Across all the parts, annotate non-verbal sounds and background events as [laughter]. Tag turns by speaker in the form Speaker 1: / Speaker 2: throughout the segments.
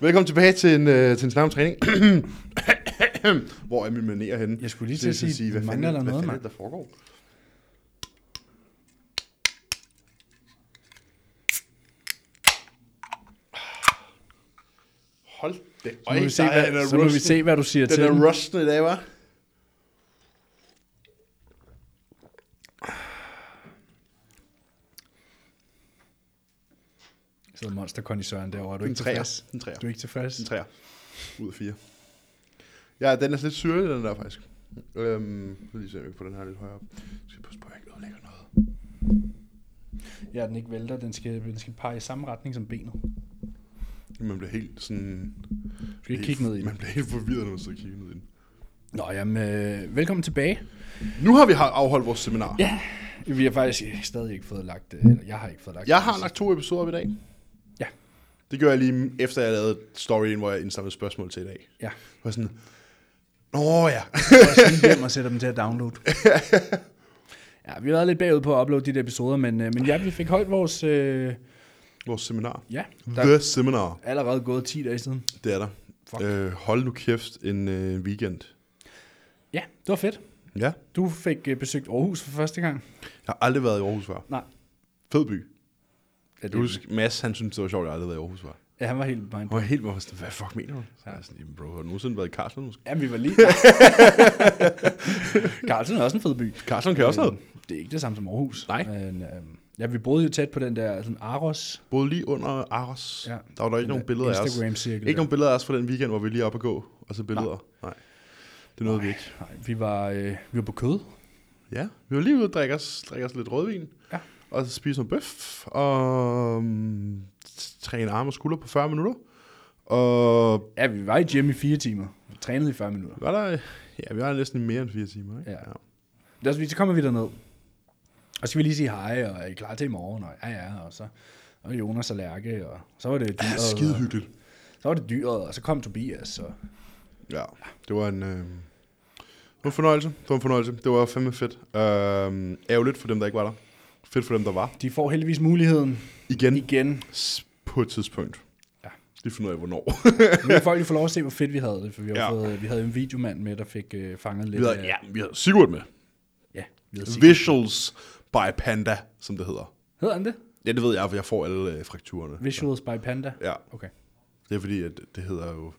Speaker 1: Velkommen tilbage til en, øh, til en snak om
Speaker 2: [coughs]
Speaker 1: træning. Hvor er min maner henne?
Speaker 2: Jeg skulle lige til at sige,
Speaker 1: hvad fanden,
Speaker 2: mangler der
Speaker 1: hvad
Speaker 2: noget,
Speaker 1: fanden er
Speaker 2: mand?
Speaker 1: det, der foregår? Hold det.
Speaker 2: Så må, vi se, hvad, så må vi se, hvad du siger
Speaker 1: Den
Speaker 2: til.
Speaker 1: er rusten i dag, hva'?
Speaker 2: Så monster kondisøren derovre. Er du
Speaker 1: En
Speaker 2: ikke
Speaker 1: træer.
Speaker 2: tilfreds?
Speaker 1: En træer.
Speaker 2: Du er ikke tilfreds?
Speaker 1: En træer. Ud af fire. Ja, den er lidt syrlig, den der faktisk. Øhm, så lige se, om jeg kan få den her lidt højere op. Jeg skal passe på, at jeg ikke ødelægger noget.
Speaker 2: Ja, den ikke vælter. Den skal, den skal pege i samme retning som benet.
Speaker 1: Man bliver helt sådan...
Speaker 2: Du skal ikke kigge ned i den.
Speaker 1: Man bliver helt forvirret, når man sidder og kigger ned i den.
Speaker 2: Nå, jamen, øh, velkommen tilbage.
Speaker 1: Nu har vi har- afholdt vores seminar.
Speaker 2: Ja, vi har faktisk stadig ikke fået lagt... øh, Eller jeg har ikke fået lagt...
Speaker 1: Jeg har lagt to episoder op i dag.
Speaker 2: Ja.
Speaker 1: Det gør jeg lige efter, jeg lavede storyen, hvor jeg indstammede spørgsmål til i dag.
Speaker 2: Ja.
Speaker 1: Jeg var sådan, Nå ja.
Speaker 2: Jeg går også lige hjem og sætter dem til at download.
Speaker 1: [laughs]
Speaker 2: Ja, vi har været lidt bagud på at uploade de der episoder, men, øh, men ja, vi fik holdt vores... Øh,
Speaker 1: Vores seminar.
Speaker 2: ja, der
Speaker 1: The
Speaker 2: er
Speaker 1: Seminar.
Speaker 2: allerede gået 10 dage siden.
Speaker 1: Det er der.
Speaker 2: Fuck.
Speaker 1: Øh, hold nu kæft en øh, weekend.
Speaker 2: Ja, det var fedt.
Speaker 1: Ja.
Speaker 2: Du fik øh, besøgt Aarhus for første gang.
Speaker 1: Jeg har aldrig været i Aarhus før.
Speaker 2: Nej.
Speaker 1: Fed by.
Speaker 2: Ja,
Speaker 1: Du husker, Mads, han synes, det var sjovt, at jeg aldrig har været i Aarhus før.
Speaker 2: ja han var helt mind.
Speaker 1: Han var helt bare sådan, hvad fuck mener du? Så er jeg sådan, jamen bro, har du nogensinde været i Karlsson måske?
Speaker 2: Ja, vi var
Speaker 1: [laughs]
Speaker 2: lige... Karlsen er også en fed by.
Speaker 1: Karlsson kan jeg også noget.
Speaker 2: Øh, Det er ikke det samme som Aarhus.
Speaker 1: Nej.
Speaker 2: Men, øh, ja, vi boede jo tæt på den der sådan Aros.
Speaker 1: Boede lige under Aros.
Speaker 2: Ja.
Speaker 1: Ja. Der var der ikke
Speaker 2: Den
Speaker 1: nogen
Speaker 2: der
Speaker 1: billeder af os.
Speaker 2: Instagram-cirkel
Speaker 1: Ikke
Speaker 2: der.
Speaker 1: nogen billeder af os fra den weekend, hvor vi lige er oppe at gå. Og så billeder. Nej. Nej. Det nåede vi ikke.
Speaker 2: Nej, vi var, øh, vi var på kød.
Speaker 1: Ja, vi var lige ude og drikke os, drikke os lidt rødvin.
Speaker 2: Ja.
Speaker 1: Og så spise noget bøf. Og um, træne arme og skuldre på 40 minutter. Og
Speaker 2: Ja, vi var i gym i fire timer. Vi trænede i 40 minutter.
Speaker 1: var der... Ja, vi var næsten mere end fire timer, ikke?
Speaker 2: Ja. Det er også fordi, så kommer vi derned. Og så skal vi lige sige hej, og er I klar til i morgen? Og ja, ja, og så og Jonas og Lærke, og så var det dyret.
Speaker 1: ja skide hyggeligt.
Speaker 2: Og, så var det dyret, og så kom Tobias. Og,
Speaker 1: Ja, det var en... Øh, det var en fornøjelse. Det var en fornøjelse. Det var fandme fedt. Øh, ærgerligt for dem, der ikke var der. Fedt for dem, der var.
Speaker 2: de får heldigvis muligheden
Speaker 1: Igen.
Speaker 2: igen.
Speaker 1: S- På et tidspunkt.
Speaker 2: Ja.
Speaker 1: Det finder jeg, hvornår.
Speaker 2: Nu kan folk lige få lov at se, hvor fedt vi havde det, for vi, har
Speaker 1: Ja.
Speaker 2: fået, vi havde en videomand med, der fik øh, fanget lidt
Speaker 1: vi havde,
Speaker 2: af...
Speaker 1: ja, vi havde Sigurd med.
Speaker 2: ja vi havde Sigurd.
Speaker 1: Visuals by Panda, som det hedder.
Speaker 2: Hedder han det?
Speaker 1: Ja, det ved jeg, for jeg får alle øh, frakturerne.
Speaker 2: Visuals by Panda?
Speaker 1: Ja,
Speaker 2: Okay.
Speaker 1: det er fordi, at det hedder jo...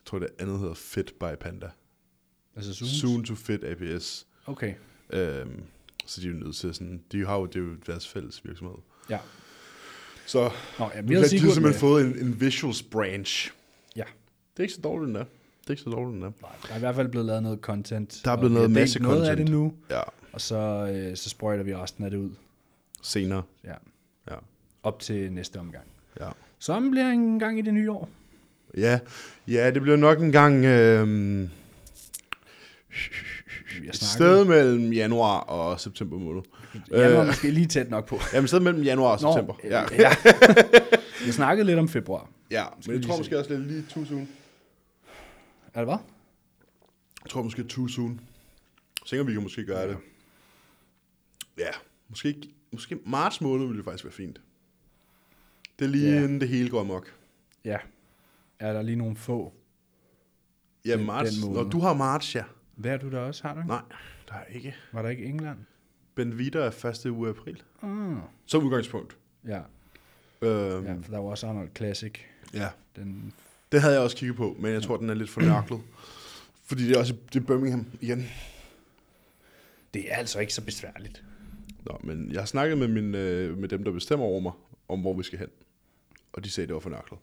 Speaker 1: Jeg tror, det andet hedder Fit by Panda.
Speaker 2: Altså Zooms?
Speaker 1: Soon to Fit APS.
Speaker 2: Okay,
Speaker 1: Øhm, så de er jo nødt til sådan... De har jo, det er jo deres fælles virksomhed.
Speaker 2: ja.
Speaker 1: Så
Speaker 2: Nå, ja, vi
Speaker 1: nu
Speaker 2: havde
Speaker 1: har de
Speaker 2: Sigurd
Speaker 1: simpelthen
Speaker 2: med.
Speaker 1: fået ligesom en, en visuals branch.
Speaker 2: øh, Ja.
Speaker 1: Det er ikke så dårligt endda. Det er ikke så dårligt endda.
Speaker 2: Nej, der er i hvert fald blevet lavet noget content.
Speaker 1: Der er
Speaker 2: og
Speaker 1: blevet
Speaker 2: vi
Speaker 1: lavet
Speaker 2: har delt
Speaker 1: masse
Speaker 2: noget af
Speaker 1: content.
Speaker 2: det nu,
Speaker 1: Ja,
Speaker 2: og så, øh, så sprøjter vi resten af det ud.
Speaker 1: senere.
Speaker 2: Ja.
Speaker 1: Ja,
Speaker 2: Op til næste omgang.
Speaker 1: ja.
Speaker 2: Som bliver en gang i det nye år.
Speaker 1: Ja, ja det bliver nok en gang øhm,
Speaker 2: Vi har
Speaker 1: et
Speaker 2: snakket.
Speaker 1: sted mellem januar og september måned.
Speaker 2: Jeg var
Speaker 1: Øh,
Speaker 2: måske lige tæt nok på.
Speaker 1: jamen et sted mellem januar og september.
Speaker 2: øh,
Speaker 1: ja.
Speaker 2: ja. [laughs] Vi snakkede lidt om februar.
Speaker 1: ja, men
Speaker 2: vi
Speaker 1: jeg tror
Speaker 2: lige
Speaker 1: måske også lidt lige too soon.
Speaker 2: Er det hvad?
Speaker 1: Jeg tror måske too soon. Jeg tænker, vi kan måske gøre det. Ja, måske, ikke- måske marts måned ville det faktisk være fint. Det er lige
Speaker 2: Ja.
Speaker 1: yeah. inden det hele går amok.
Speaker 2: Ja. Er der lige nogle få?
Speaker 1: Ja,
Speaker 2: Den-
Speaker 1: marts.
Speaker 2: den måned.
Speaker 1: Når du har marts, ja.
Speaker 2: Det er du der også, har du ikke?
Speaker 1: Nej, der er ikke.
Speaker 2: Var der ikke England?
Speaker 1: Benvita er første uge af april.
Speaker 2: Mm.
Speaker 1: Som udgangspunkt.
Speaker 2: Ja,
Speaker 1: Øhm,
Speaker 2: ja,
Speaker 1: ja.
Speaker 2: for der var også Arnold Classic.
Speaker 1: ja.
Speaker 2: Den,
Speaker 1: Det havde jeg også kigget på, men jeg tror, den er lidt for nørklet. Fordi det er også det er Birmingham igen.
Speaker 2: det er altså ikke så besværligt.
Speaker 1: Nå, men jeg har snakket med, min, øh, med dem, der bestemmer over mig, om hvor vi skal hen. Og de sagde, det var for nørklet.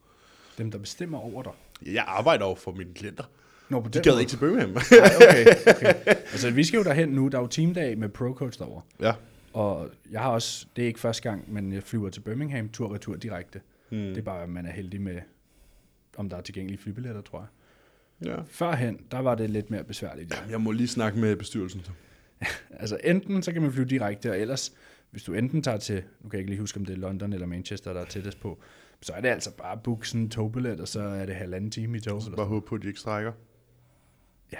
Speaker 2: Dem, der bestemmer over dig.
Speaker 1: Jeg arbejder over for mine klienter.
Speaker 2: Nå, på
Speaker 1: De
Speaker 2: den
Speaker 1: gad
Speaker 2: måde.
Speaker 1: ikke til Birmingham. [laughs]
Speaker 2: Nej, okay, okay. Altså, vi skal jo derhen nu. Der er jo teamdag med ProCoach derovre.
Speaker 1: ja.
Speaker 2: Og jeg har også, det er ikke første gang, men jeg flyver til Birmingham tur-retur direkte. Mm.
Speaker 1: Hmm.
Speaker 2: Det er bare, at man er heldig med, om der er tilgængelige flybilletter, tror jeg.
Speaker 1: ja.
Speaker 2: Førhen, der var det lidt mere besværligt. Ja.
Speaker 1: Jeg må lige snakke med bestyrelsen. så.
Speaker 2: Altså enten så kan man flyve direkte, og ellers, hvis du enten tager til, nu kan jeg ikke lige huske, om det er London eller Manchester, der er tættest på, så er det altså bare at booke sådan en togbillet, og så er det halvanden time i tog. Eller sådan.
Speaker 1: Bare håbe på, at de ikke strækker.
Speaker 2: Ja.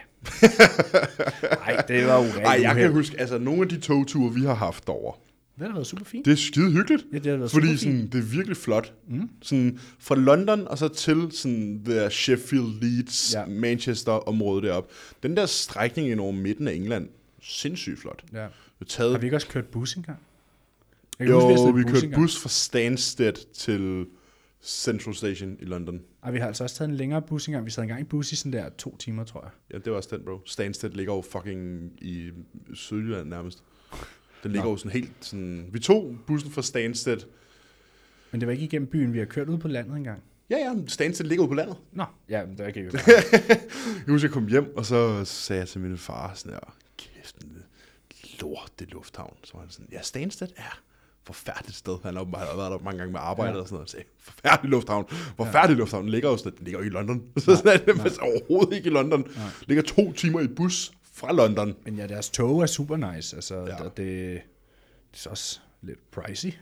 Speaker 2: Nej, det var
Speaker 1: Nej,
Speaker 2: jo rigtig
Speaker 1: jeg kan
Speaker 2: uheldigt.
Speaker 1: huske, altså nogle af de togture, vi har haft derovre,
Speaker 2: Det har været super fint.
Speaker 1: Det er skide hyggeligt.
Speaker 2: Ja, det har været
Speaker 1: Fordi
Speaker 2: superfint.
Speaker 1: sådan, det er virkelig flot. Mm. Sådan, fra London og så til sådan, der Sheffield, Leeds,
Speaker 2: Ja.
Speaker 1: ja. Manchester-området deroppe. Den der strækning ind over midten af England, sindssygt flot.
Speaker 2: Ja.
Speaker 1: Det er taget
Speaker 2: Har vi ikke også kørt bus engang? Jeg
Speaker 1: jo,
Speaker 2: har siddet i
Speaker 1: vi kørte
Speaker 2: engang.
Speaker 1: bus fra Stansted til Central Station i London.
Speaker 2: Ej, vi har altså også taget en længere bus engang. Vi sad engang i bus i sådan der to timer, tror jeg.
Speaker 1: Ja, det var også den, bro. Stansted ligger jo fucking i Sydjylland nærmest. Den ligger jo sådan helt sådan... Vi tog bussen fra Stansted.
Speaker 2: Men det var ikke igennem byen. Vi har kørt ud på landet engang.
Speaker 1: Ja, ja, men Stansted ligger jo på landet.
Speaker 2: Nå, ja, men der kan vi jo
Speaker 1: [laughs] Jeg husker, jeg kom hjem, og så sagde jeg til min far sådan her, kæft, den lorte lufthavn. Så var han sådan, ja, Stansted er forfærdeligt sted. Han har åbenbart været der mange gange med arbejde
Speaker 2: Ja.
Speaker 1: ja. og sådan noget. Så sagde, jeg, forfærdelig lufthavn. Forfærdelig ja. lufthavn. Den ligger jo sådan, den ligger jo ikke i London. Så sådan, er det faktisk overhovedet ikke i London. Nej. Ligger to timer i bus fra London.
Speaker 2: Men ja, deres tog er super nice. Altså, ja.
Speaker 1: Ja.
Speaker 2: der, det, det er også lidt pricey. Det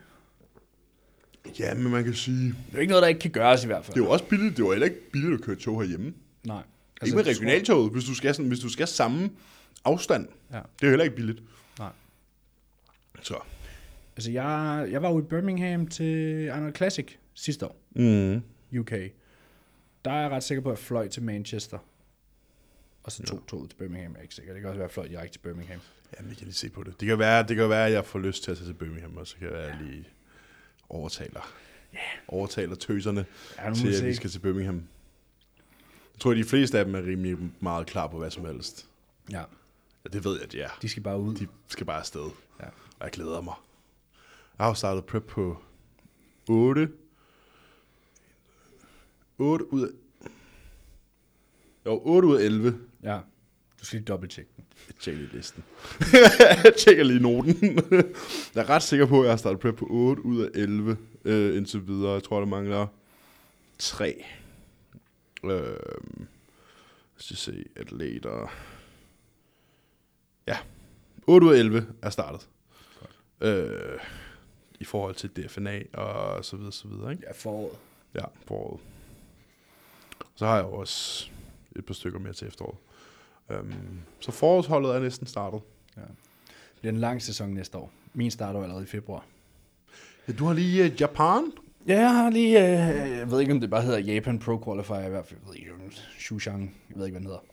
Speaker 1: Ja, men man kan sige,
Speaker 2: er jo ikke noget, der ikke kan gøres i hvert fald.
Speaker 1: det er jo også billigt. Det var heller ikke billigt at køre tog herhjemme.
Speaker 2: Nej.
Speaker 1: Altså, ikke med
Speaker 2: jeg tror-
Speaker 1: regionaltoget, hvis du skal, sådan, hvis du skal samme afstand.
Speaker 2: Ja.
Speaker 1: Ja. Det er jo heller ikke billigt.
Speaker 2: Nej.
Speaker 1: Så.
Speaker 2: Altså, jeg, jeg var jo i Birmingham til Arnold Classic sidste år,
Speaker 1: Mm.
Speaker 2: UK. Der er jeg ret sikker på, at jeg fløj til Manchester. Og så tog toget til Birmingham, jeg er ikke sikker. Det kan også være, at jeg fløj direkte til Birmingham.
Speaker 1: Jamen, jeg kan lige se på det. Det kan være, det kan være at jeg får lyst til at tage til Birmingham, og så kan jeg lige overtaler. Yeah. Overtaler tøserne
Speaker 2: Ja, nu må vi
Speaker 1: til,
Speaker 2: se.
Speaker 1: at vi skal til Birmingham. Jeg tror, at de fleste af dem er rimelig meget klar på hvad som helst.
Speaker 2: Ja,
Speaker 1: Ja, det ved jeg, at de er.
Speaker 2: de skal bare ud.
Speaker 1: De skal bare afsted,
Speaker 2: Ja.
Speaker 1: og jeg glæder mig. Jeg har jo startet prep på 8. 8 ud af... Jo, 8 ud af 11
Speaker 2: ja. Du skal lige dobbelttjekke den.
Speaker 1: Jeg [laughs] tjekker lige listen. jeg tjekker lige noten. [laughs] jeg er ret sikker på, at jeg har startet prep på 8 ud af 11 øh, indtil videre. Jeg tror, der mangler 3. Øh, lad os lige se. Atleter. Ja. 8 ud af 11 er startet. Øh, I forhold til DFNA og så videre, så videre. Ikke?
Speaker 2: Ja, foråret.
Speaker 1: Ja, foråret. Så har jeg jo også et par stykker mere til efteråret. Um, så forårsholdet er næsten startet.
Speaker 2: Ja. Det bliver en lang sæson næste år. Min starter jo allerede i februar.
Speaker 1: Ja, du har lige uh, Japan.
Speaker 2: Ja, jeg har lige, øh, jeg ved ikke, om det bare hedder Japan Pro Qualifier, i hvert fald, jeg ved ikke, om- Shushan, jeg ved ikke, hvad den hedder.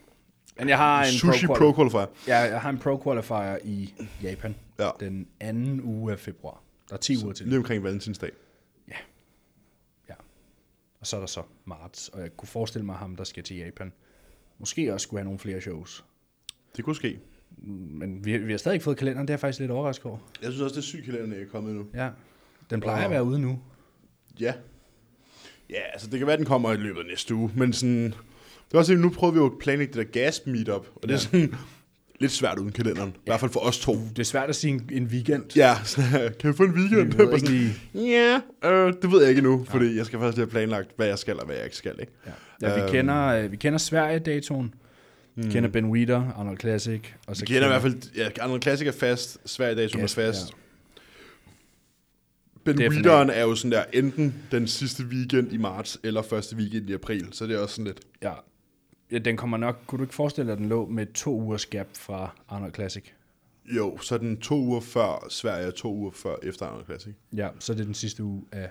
Speaker 2: Men jeg har en
Speaker 1: Sushi
Speaker 2: Pro,
Speaker 1: Pro
Speaker 2: Quali-
Speaker 1: Qualifier.
Speaker 2: ja, jeg har en Pro Qualifier i Japan,
Speaker 1: Ja.
Speaker 2: den anden uge af februar. Der er 10 uger til
Speaker 1: Lige omkring valentinsdag.
Speaker 2: Ja. Og så er der så marts, og jeg kunne forestille mig ham, der skal til Japan. Måske også skulle have nogle flere shows.
Speaker 1: Det kunne ske.
Speaker 2: Men vi, vi har stadig ikke fået kalenderen, det er jeg faktisk lidt overrasket over.
Speaker 1: Jeg synes også, det er sygt, kalenderen er kommet nu.
Speaker 2: Ja. Den plejer at være ude nu.
Speaker 1: Ja. Ja, altså det kan være, den kommer i løbet af næste uge, men sådan... Det er også det, nu prøver vi jo at planlægge det der gas meetup, og det er sådan lidt svært uden kalenderen. I hvert fald for os to.
Speaker 2: Det er svært at sige en, en weekend.
Speaker 1: Ja, [laughs] sådan, kan vi få en weekend?
Speaker 2: Vi ved
Speaker 1: Og
Speaker 2: ikke
Speaker 1: sådan, Ja, øh, det ved jeg ikke endnu, fordi jeg skal faktisk lige have planlagt, hvad jeg skal og hvad jeg ikke skal. Ikke?
Speaker 2: Ja, ja vi,
Speaker 1: Øhm. Mm.
Speaker 2: kender, øh, vi kender Sverige-datoen. Vi kender Ben Weeder, Arnold Classic. Og så
Speaker 1: Vi kender i hvert fald, ja, andre klassiker fast, Sverige dag som er
Speaker 2: Yes,
Speaker 1: fast.
Speaker 2: ja.
Speaker 1: Ja. Ben
Speaker 2: Definitely.
Speaker 1: Weederen er jo sådan der, enten den sidste weekend i marts, eller første weekend i april, så det er også sådan lidt.
Speaker 2: Ja. ja, den kommer nok... Kunne du ikke forestille dig, at den lå med to ugers gap fra Arnold Classic?
Speaker 1: Jo, så er den to uger før Sverige, og to uger før efter andre klassik.
Speaker 2: Ja, så det er den sidste uge af...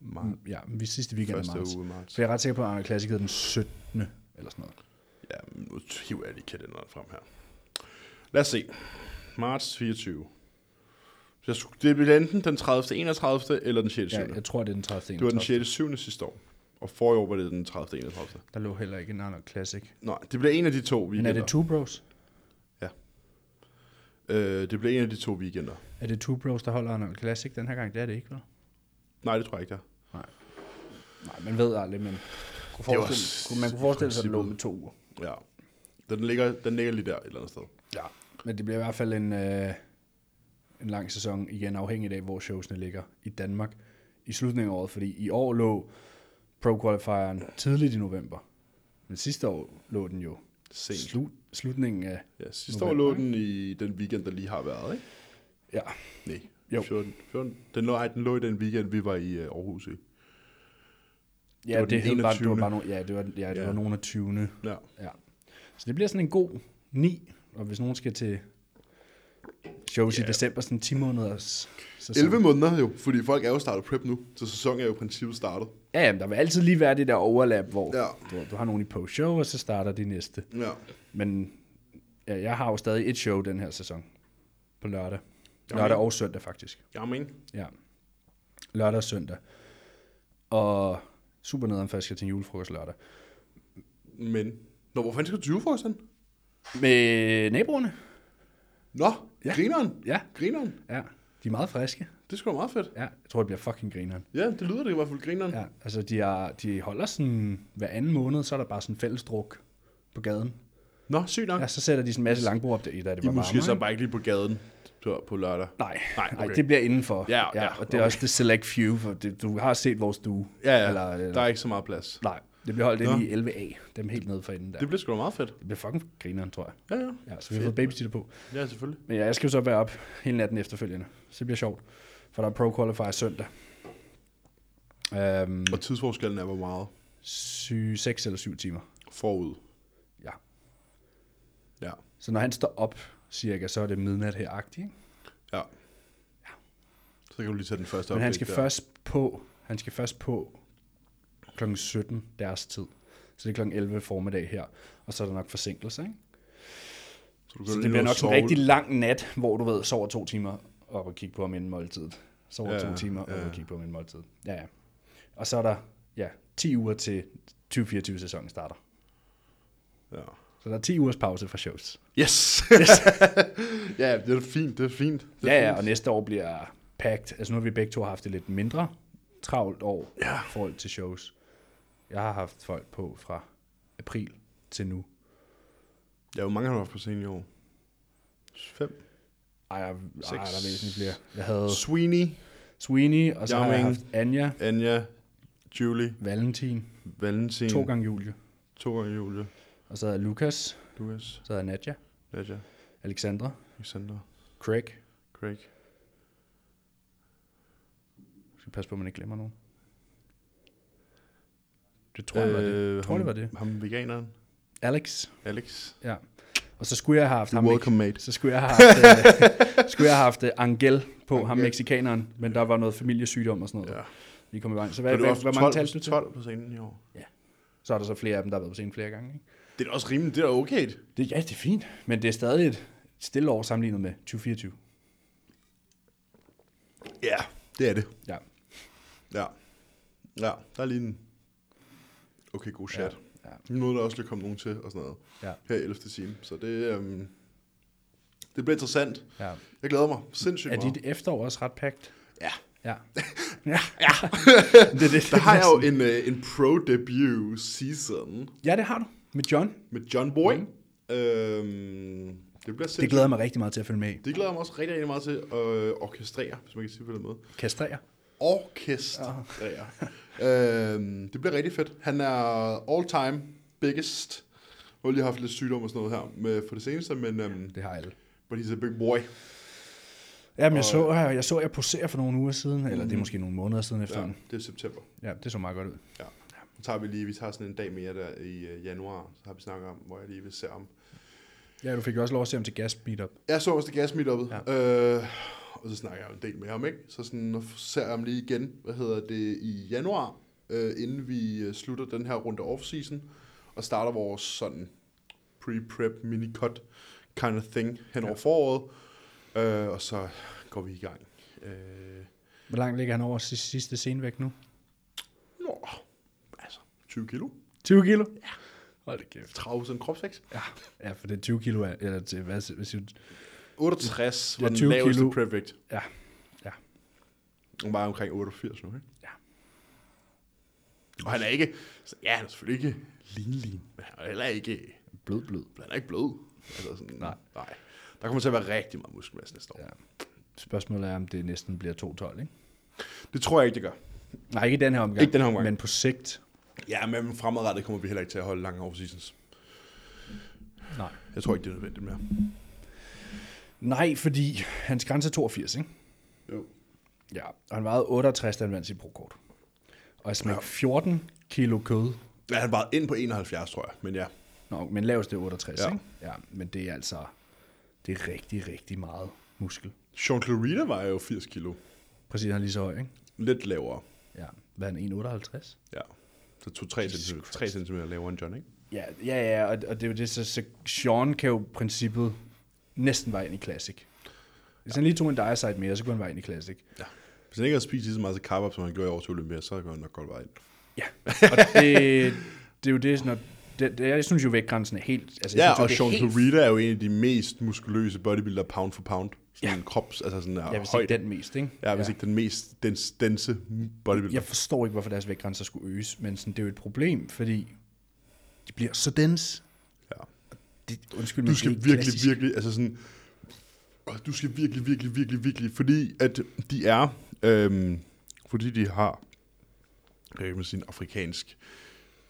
Speaker 1: Marts.
Speaker 2: Ja, vi sidste weekend af
Speaker 1: Første
Speaker 2: marts.
Speaker 1: uge i marts.
Speaker 2: Så jeg er ret sikker på, at Arnold Classic hedder den 17. eller sådan noget.
Speaker 1: Ja, men nu hiver jeg lige kalenderen frem her. Lad os se. Marts 24. Så jeg skulle- det bliver enten den 30. 31. eller den 6.
Speaker 2: Ja,
Speaker 1: Ja,
Speaker 2: jeg tror, det er den 30.
Speaker 1: det var den
Speaker 2: 31..
Speaker 1: 6. 7. sidste år. Og forrige år var det den 30. 31.
Speaker 2: Der lå heller ikke en Arnold Classic.
Speaker 1: Nej, det bliver en af de to
Speaker 2: Men
Speaker 1: weekender.
Speaker 2: er det Two Bros?
Speaker 1: Øh, det bliver en af de to weekender.
Speaker 2: Er det Two Bros, der holder Arnold Classic den her gang? Det er det ikke, vel?
Speaker 1: Nej, det tror jeg ikke, der.
Speaker 2: Nej, man ved aldrig, men kunne forestille,
Speaker 1: også
Speaker 2: kunne, man kunne forestille sig, at den lå
Speaker 1: princippet.
Speaker 2: med to uger.
Speaker 1: Ja. Den ligger, den ligger lige der et eller andet sted.
Speaker 2: Ja, men det bliver i hvert fald en, øh, en lang sæson, igen afhængigt af, hvor showsene ligger i Danmark i slutningen af året, fordi i år lå Pro Qualifieren tidligt i november, men sidste år lå den jo
Speaker 1: Sent.
Speaker 2: slut, slutningen af,
Speaker 1: Ja, sidste
Speaker 2: November,
Speaker 1: år lå den i den weekend, der lige har været, ikke?
Speaker 2: ja,
Speaker 1: Nej.
Speaker 2: Jo.
Speaker 1: 14, 14. Den, lå, ej, den lå i den weekend, vi var i øh, Aarhus. Ikke?
Speaker 2: ja
Speaker 1: var
Speaker 2: det, det,
Speaker 1: den
Speaker 2: hed bare, det var
Speaker 1: 21..
Speaker 2: bare no, ja, det var, ja, det
Speaker 1: Ja.
Speaker 2: var nogen af 20.
Speaker 1: Ja.
Speaker 2: Ja. Så det bliver sådan en god 9, og hvis nogen skal til Shows yeah.
Speaker 1: Ja.
Speaker 2: i december, sådan 10 måneders sæson.
Speaker 1: 11 måneder jo, fordi folk er jo startet prep nu, så sæsonen er jo i princippet startet.
Speaker 2: Ja, jamen, der vil altid lige være det der overlap, hvor
Speaker 1: Ja.
Speaker 2: ja. du, du har nogle i post-show, og så starter de næste.
Speaker 1: Ja.
Speaker 2: Men ja, jeg har jo stadig et show den her sæson. På lørdag. Lørdag og søndag, faktisk.
Speaker 1: Jamen.
Speaker 2: Ja. Lørdag og søndag. Og super nederen først skal til en julefrokost lørdag.
Speaker 1: Men, nå, hvor fanden skal du 20 for sådan?
Speaker 2: Med naboerne.
Speaker 1: Nå, ja.
Speaker 2: Ja.
Speaker 1: grineren.
Speaker 2: Ja,
Speaker 1: Grineren.
Speaker 2: ja. De er meget friske.
Speaker 1: Det er sgu da meget fedt.
Speaker 2: Ja, jeg tror, det bliver fucking grineren.
Speaker 1: Ja, det lyder det i hvert fald, grineren. Ja.
Speaker 2: Ja, altså de, er, de holder sådan hver anden måned, så er der bare sådan fælles druk på gaden.
Speaker 1: Nå, sygt nok.
Speaker 2: Ja, så sætter de sådan en masse langbord op der, i, da det
Speaker 1: De
Speaker 2: var
Speaker 1: er måske
Speaker 2: varmere,
Speaker 1: så
Speaker 2: ikke?
Speaker 1: bare ikke lige på gaden på- på lørdag.
Speaker 2: Nej,
Speaker 1: Nej,
Speaker 2: nej,
Speaker 1: okay.
Speaker 2: okay. nej, det bliver indenfor.
Speaker 1: Ja, ja,
Speaker 2: og det er også det select few, for det, du har set vores stue.
Speaker 1: Ja, ja.
Speaker 2: Eller,
Speaker 1: Der
Speaker 2: eller,
Speaker 1: er ikke så meget plads.
Speaker 2: nej, det bliver holdt
Speaker 1: Nå.
Speaker 2: inde i 11A, dem helt nede for enden der.
Speaker 1: Det
Speaker 2: Det,
Speaker 1: bliver sgu da meget fedt.
Speaker 2: det bliver fucking grineren, tror jeg.
Speaker 1: Ja, ja.
Speaker 2: Ja, så vi har fået babysitter på.
Speaker 1: Ja, selvfølgelig.
Speaker 2: Men ja, jeg skal jo så være op hele natten efterfølgende, så det bliver sjovt. For der er pro qualifier søndag. Øhm,
Speaker 1: Og tidsforskellen er hvor meget
Speaker 2: sy- 6 eller 7 timer.
Speaker 1: forud.
Speaker 2: Ja.
Speaker 1: Ja.
Speaker 2: Så når han står op cirka, så er det midnat her agtigt.
Speaker 1: Ja. Så kan du lige tage den første
Speaker 2: Men han
Speaker 1: oplæg
Speaker 2: skal
Speaker 1: der.
Speaker 2: først på, han skal først på kl. 17 deres tid. Så det er kl. 11 formiddag her, og så er der nok forsinkelse, ikke?
Speaker 1: Så, du kan
Speaker 2: Så
Speaker 1: lige
Speaker 2: det
Speaker 1: nå
Speaker 2: bliver
Speaker 1: at
Speaker 2: nok sådan
Speaker 1: sove
Speaker 2: en rigtig lang nat, hvor du ved, sover to timer op og kigge på ham inden måltidet. Sover
Speaker 1: Ja,
Speaker 2: ja, to timer op
Speaker 1: ja.
Speaker 2: og kigge på ham inden måltidet. Ja, ja. Og så er der ja, 10 uger til 2024-sæsonen starter.
Speaker 1: Ja.
Speaker 2: Så der er 10 ugers pause fra shows.
Speaker 1: Yes!
Speaker 2: Yes.
Speaker 1: [laughs] ja, det er fint, det er fint. Det er
Speaker 2: ja, ja, og
Speaker 1: fint.
Speaker 2: næste år bliver packed. Altså nu har vi begge to haft det lidt mindre travlt år
Speaker 1: Ja.
Speaker 2: i forhold til shows. Jeg har haft folk på fra april til nu.
Speaker 1: Ja, hvor mange har du haft på scenen i år? Fem?
Speaker 2: Ej, jeg, ej,
Speaker 1: Seks.
Speaker 2: der er væsentligt flere. Jeg havde
Speaker 1: Sweeney,
Speaker 2: Sweeney, og så har jeg
Speaker 1: Jamming.
Speaker 2: haft Anja,
Speaker 1: Anja, Julie,
Speaker 2: Valentin,
Speaker 1: Valentin.
Speaker 2: to gange Julie.
Speaker 1: To gange Julie.
Speaker 2: Og så havde jeg Lukas,
Speaker 1: Lukas,
Speaker 2: så havde jeg Nadja,
Speaker 1: Nadja,
Speaker 2: Alexandra,
Speaker 1: Alexander,
Speaker 2: Craig.
Speaker 1: Craig.
Speaker 2: Jeg skal passe på, at man ikke glemmer nogen. Det tror jeg var det.
Speaker 1: Øh,
Speaker 2: Jeg tror,
Speaker 1: ham-
Speaker 2: det var det.
Speaker 1: Ham veganeren,
Speaker 2: Alex,
Speaker 1: Alex.
Speaker 2: ja. Og så skulle jeg have haft
Speaker 1: Du
Speaker 2: ham, ikke?
Speaker 1: welcome, mate.
Speaker 2: Så skulle jeg have haft, [laughs] øh, skulle jeg have haft øh, Angel på, Angel. ham
Speaker 1: Angel.
Speaker 2: mexikaneren, men der var noget familiesygdom og sådan noget.
Speaker 1: Ja.
Speaker 2: Ja. Vi kom i vejen. Så
Speaker 1: Hvad,
Speaker 2: hvad,
Speaker 1: du
Speaker 2: hvad,
Speaker 1: har haft
Speaker 2: hvor mange
Speaker 1: 12,
Speaker 2: talte du til?
Speaker 1: 12 på scenen i år.
Speaker 2: Så er der så flere af dem, der har været på scenen flere gange. Ikke?
Speaker 1: Det er da også rimeligt, det er da okay.
Speaker 2: Det, ja, det er fint, men det er stadig et stille år sammenlignet med 2024.
Speaker 1: Ja, det er det.
Speaker 2: Ja.
Speaker 1: Ja. Ja, der er lige en okay god chat.
Speaker 2: Ja, ja.
Speaker 1: Nu er der også lige kommet nogen til og sådan noget
Speaker 2: Ja.
Speaker 1: her i 11. time. Så det, øhm, det bliver interessant.
Speaker 2: ja.
Speaker 1: Jeg glæder mig sindssygt
Speaker 2: Er
Speaker 1: meget.
Speaker 2: dit efterår også ret pakket?
Speaker 1: Ja.
Speaker 2: Ja. [laughs] ja. [laughs] ja. det, det,
Speaker 1: Der har jeg jo en, øh, en pro-debut season
Speaker 2: Ja, det har du. Med John.
Speaker 1: med John Boy. Mm. Øhm, det bliver
Speaker 2: Det
Speaker 1: sindssygt.
Speaker 2: glæder jeg mig rigtig meget til at følge med i.
Speaker 1: Det glæder jeg mig også rigtig, rigtig meget til at øh, orkestrere, hvis man kan sige det på den måde.
Speaker 2: Kastrere.
Speaker 1: Orkestrere.
Speaker 2: Ah.
Speaker 1: øhm, det bliver rigtig fedt. Han er all-time biggest. Jeg har lige haft lidt sygdom og sådan noget her med, for det seneste, men øhm,
Speaker 2: Det har alle.
Speaker 1: but he's a big boy.
Speaker 2: Jamen, jeg så, jeg, jeg så, jeg poserer for nogle uger siden, eller det er måske nogle måneder siden
Speaker 1: Ja,
Speaker 2: efterhånden.
Speaker 1: det er september.
Speaker 2: Ja, det så meget godt ud.
Speaker 1: Ja. Nu tager vi lige, vi tager sådan en dag mere der i øh, januar, så har vi snakket om, hvor jeg lige vil se om.
Speaker 2: Ja, du fik jo også lov at se ham til gas meetup.
Speaker 1: Jeg så også det gas meetupet, ja. øh, og så snakker jeg jo en del med ham, ikke? Så sådan, nu ser jeg ham lige igen, hvad hedder det, i januar, øh, inden vi øh, slutter den her runde off-season, og starter vores sådan pre-prep mini-cut kind of thing hen over foråret, øh, og så går vi i gang. Øh,
Speaker 2: Hvor langt ligger han over si- sidste scenevægt nu?
Speaker 1: nå, altså 20 kilo,
Speaker 2: 20 kilo? Ja. Hold da kæft.
Speaker 1: 30 kropsvækst.
Speaker 2: Ja, ja for det er 20 kilo, er- eller til, hvad, hvad siger du?
Speaker 1: 68
Speaker 2: Det
Speaker 1: var
Speaker 2: er
Speaker 1: den
Speaker 2: 20
Speaker 1: laveste
Speaker 2: kilo.
Speaker 1: perfect.
Speaker 2: Ja, ja.
Speaker 1: Han var omkring 88 nu, ikke?
Speaker 2: Ja.
Speaker 1: Og han er ikke... så- Ja, han er selvfølgelig ikke lean, lean. Men han er heller ikke...
Speaker 2: Blød, blød.
Speaker 1: Han er ikke blød. Altså sådan,
Speaker 2: Nej.
Speaker 1: nej. Der kommer til at være rigtig meget muskelmasse næste år. Ja.
Speaker 2: Ja. Spørgsmålet er, om det næsten bliver 2,12, ikke?
Speaker 1: Det tror jeg ikke, det gør.
Speaker 2: Nej, ikke i den her omgang.
Speaker 1: Ikke den her omgang.
Speaker 2: Men på sigt.
Speaker 1: Ja, men fremadrettet kommer vi heller ikke til at holde lange off-seasons.
Speaker 2: Nej.
Speaker 1: Jeg tror ikke, det er nødvendigt mere.
Speaker 2: Nej, fordi hans grænse er 82, ikke?
Speaker 1: Jo.
Speaker 2: Ja. Og han vejede 68, da han vandt sit brokort. Og jeg smæk 14 kilo kød.
Speaker 1: Ja, han var ind på 71, tror jeg. Men ja,
Speaker 2: Nå, men lavest det er 68,
Speaker 1: Ja.
Speaker 2: ikke? Ja, men det er altså... Det er rigtig, rigtig meget muskel.
Speaker 1: Jean-Claude Rita vejer jo 80 kilo.
Speaker 2: Præcis, han er lige så høj, ikke?
Speaker 1: Lidt lavere.
Speaker 2: Ja. Hvad er han, 1,58?
Speaker 1: Ja. Så 2-3 cm, 3 cm lavere end John, ikke?
Speaker 2: Ja, ja, ja, og, og det er jo det, så, så Sean kan jo i princippet næsten være ind i Classic. Hvis han lige tog en dire side mere, så kunne han være ind i Classic.
Speaker 1: Ja. Hvis han ikke havde spist lige så meget til carb som han gjorde i år til Olympia, så kunne han nok godt veje ind.
Speaker 2: Ja, og det, det er jo det, sådan, at, det, det, jeg synes jo, vægtgrænsen er helt... Altså, jeg
Speaker 1: Ja,
Speaker 2: synes, jo,
Speaker 1: og
Speaker 2: det er
Speaker 1: Sean
Speaker 2: helt-
Speaker 1: Clarita er jo en af de mest muskuløse bodybuilder pound for pound. Sådan ja. en krops, altså sådan der
Speaker 2: Ja, hvis
Speaker 1: højde.
Speaker 2: ikke den mest, ikke?
Speaker 1: Ja, hvis ja. ikke den mest dens, dense bodybuilder.
Speaker 2: Jeg forstår ikke, hvorfor deres vægtgrænser skulle øges, men sådan, det er jo et problem, fordi de bliver så dense.
Speaker 1: Ja.
Speaker 2: Det, undskyld, men
Speaker 1: Du
Speaker 2: det
Speaker 1: skal
Speaker 2: er ikke
Speaker 1: virkelig,
Speaker 2: klassisk.
Speaker 1: virkelig, altså sådan, åh, du skal virkelig, virkelig, virkelig, virkelig, fordi at de er, øhm, fordi de har, øh, med sin afrikansk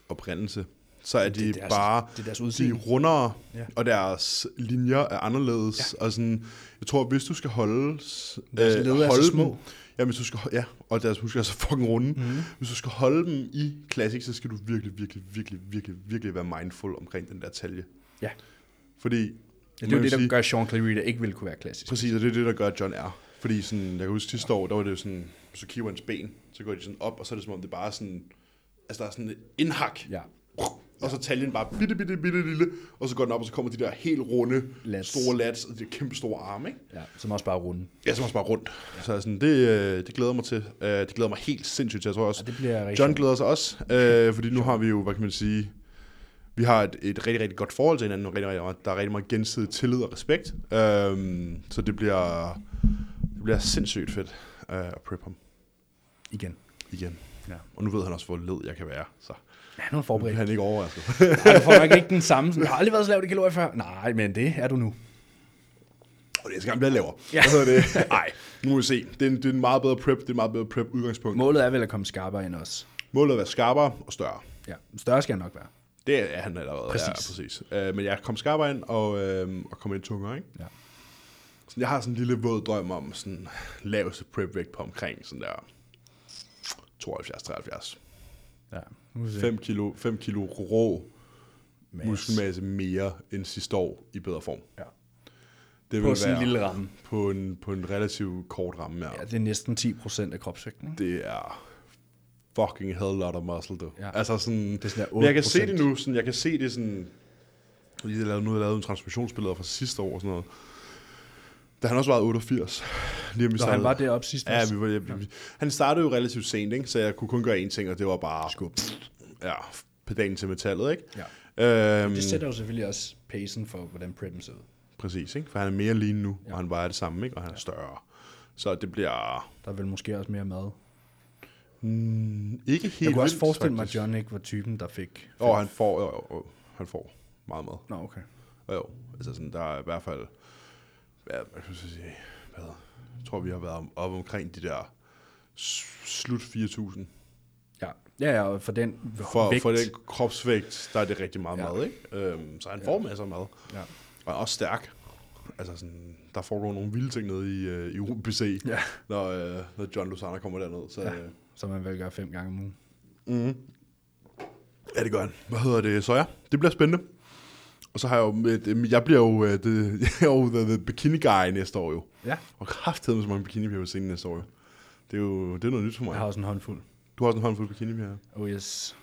Speaker 1: oprindelse, så er de
Speaker 2: Det er altså-
Speaker 1: det
Speaker 2: deres-
Speaker 1: bare,
Speaker 2: det er deres
Speaker 1: de er
Speaker 2: udseende.
Speaker 1: rundere,
Speaker 2: Ja.
Speaker 1: ja. og deres linjer er anderledes, ja. og sådan, jeg tror, hvis du skal holde, s- øh,
Speaker 2: Deres led er så
Speaker 1: holde
Speaker 2: små. Mhm.
Speaker 1: dem, ja, hvis du skal, ho- ja, og deres muskler er så fucking runde, mm-hmm. hvis du skal holde dem i classic, så skal du virkelig, virkelig, virkelig, virkelig, virkelig være mindful omkring den der talje.
Speaker 2: Ja,
Speaker 1: Fordi,
Speaker 2: det er jo det, der gør, at Sean Clarita ikke ville kunne være klassisk.
Speaker 1: Præcis, og det er det, der gør, at John er. Fordi sådan, jeg kan huske sidste år, der var det jo sådan, så kigger hans ben, så går de sådan op, og så er det som om, det bare er sådan, altså der er sådan et indhak,
Speaker 2: Ja.
Speaker 1: og så taljen bare bitte, bitte, bitte lille, og så går den op, og så kommer de der helt runde,
Speaker 2: Lats.
Speaker 1: lats. store lats, og de der kæmpe store arme, ikke?
Speaker 2: ja, som også bare er runde.
Speaker 1: Ja, så også bare rundt. Så er sådan, det, øh, det glæder jeg mig til. Øh, Det glæder jeg mig helt sindssygt til, jeg tror også.
Speaker 2: Ja, det bliver rigtig
Speaker 1: John
Speaker 2: sjovt.
Speaker 1: glæder sig også, øh, fordi nu har vi jo, hvad kan man sige, vi har et, et rigtig, rigtig godt forhold til hinanden, og rigtig, rigtig, meget- der er rigtig meget gensidig tillid og respekt. Øhm, så det bliver, det bliver sindssygt fedt øh, at prep ham
Speaker 2: Igen.
Speaker 1: igen.
Speaker 2: Ja.
Speaker 1: Og nu ved han også, hvor led jeg kan være, så
Speaker 2: Ja, nu er han
Speaker 1: nu
Speaker 2: forberedt.
Speaker 1: er han ikke altså. overrasket.
Speaker 2: Ej, du får nok ikke den samme. Sådan, jeg har aldrig været så lavt i kalorier før. Nej, men det er du nu.
Speaker 1: og det skal han blive lavere.
Speaker 2: Ja.
Speaker 1: Ja. Hvad hedder
Speaker 2: [laughs]
Speaker 1: det? Ej, nu må vi se. Det er, en, det er en meget bedre prep, det er en meget bedre prep udgangspunkt.
Speaker 2: Målet er vel at komme skarpere end os.
Speaker 1: Målet er at være skarpere og større.
Speaker 2: Ja, større skal jeg nok være.
Speaker 1: Det er han allerede.
Speaker 2: Præcis.
Speaker 1: Ja, præcis. Øh, men jeg kom skarpere ind og, øh, og kom lidt tungere, ikke?
Speaker 2: Ja.
Speaker 1: Sådan, jeg har sådan en lille våd drøm om sådan laveste prep vægt på omkring sådan der 72-73.
Speaker 2: ja. Nu må vi se.
Speaker 1: 5 kilo, 5 kilo rå
Speaker 2: Mads.
Speaker 1: muskelmasse mere end sidste år i bedre form.
Speaker 2: Ja.
Speaker 1: Det
Speaker 2: På
Speaker 1: vil
Speaker 2: sådan en
Speaker 1: være
Speaker 2: lille ramme.
Speaker 1: På en, på en relativt kort ramme, ja.
Speaker 2: ja,
Speaker 1: ja.
Speaker 2: det er næsten 10% af kropsvægten. ikke?
Speaker 1: Det er fucking hell lot of muscle, du.
Speaker 2: Ja.
Speaker 1: Ja. Altså sådan,
Speaker 2: er sådan der
Speaker 1: men jeg kan
Speaker 2: 8%.
Speaker 1: se det nu, sådan, jeg kan se det sådan, fordi jeg lavede, nu har jeg lavet en transmissionsbilleder fra sidste år og sådan noget. Da han også var 88. Lige om vi
Speaker 2: Når han var deroppe sidst.
Speaker 1: Ja,
Speaker 2: også.
Speaker 1: vi var, ja. vi- Han startede jo relativt sent, ikke? så jeg kunne kun gøre én ting, og det var bare... Skub. Ja, pedalen til metallet, ikke? Ja. Øhm,
Speaker 2: Det sætter jo selvfølgelig også pacen for, hvordan preppen ser ud.
Speaker 1: præcis, ikke? For han er mere lean nu, ja. og han vejer det samme, ikke? Og han er større. Så det bliver
Speaker 2: Der er vel måske også mere mad.
Speaker 1: ikke helt
Speaker 2: Jeg kunne også
Speaker 1: vildt,
Speaker 2: forestille mig, at
Speaker 1: faktisk.
Speaker 2: John ikke var typen, der fik...
Speaker 1: Jo, han får, jo, jo, jo, han får meget mad.
Speaker 2: Nå, okay.
Speaker 1: Jo, jo. Altså sådan, der er i hvert fald... Hvad, hvad skal jeg sige? Hvad? Jeg tror, vi har været om- oppe omkring de der s- slut 4.000.
Speaker 2: Ja, ja, ja og for den
Speaker 1: For,
Speaker 2: vægt.
Speaker 1: for den kropsvægt, der er det rigtig meget
Speaker 2: Ja.
Speaker 1: ja. mad, ikke? Øhm, så han får masser af mad.
Speaker 2: Ja.
Speaker 1: Og er også stærk. Altså sådan, der foregår nogle vilde ting nede i, øh, i UBC,
Speaker 2: Ja.
Speaker 1: når, øh, når John Lozano kommer derned. Så, ja. øh,
Speaker 2: Som man vel gør fem gange om ugen.
Speaker 1: Ja, det gør han. Hvad hedder det? Så ja, det bliver spændende. Og så har jeg jo... Med, øh, jeg bliver jo... øh, Det, [laughs] jeg er jo the, the bikini guy næste år jo.
Speaker 2: Ja.
Speaker 1: Og kraftedeme så mange bikinipiger på scenen næste år jo. Det er jo det er noget nyt for mig.
Speaker 2: Jeg har også en håndfuld.
Speaker 1: Du har også en håndfuld bikinipiger.
Speaker 2: Oh yes.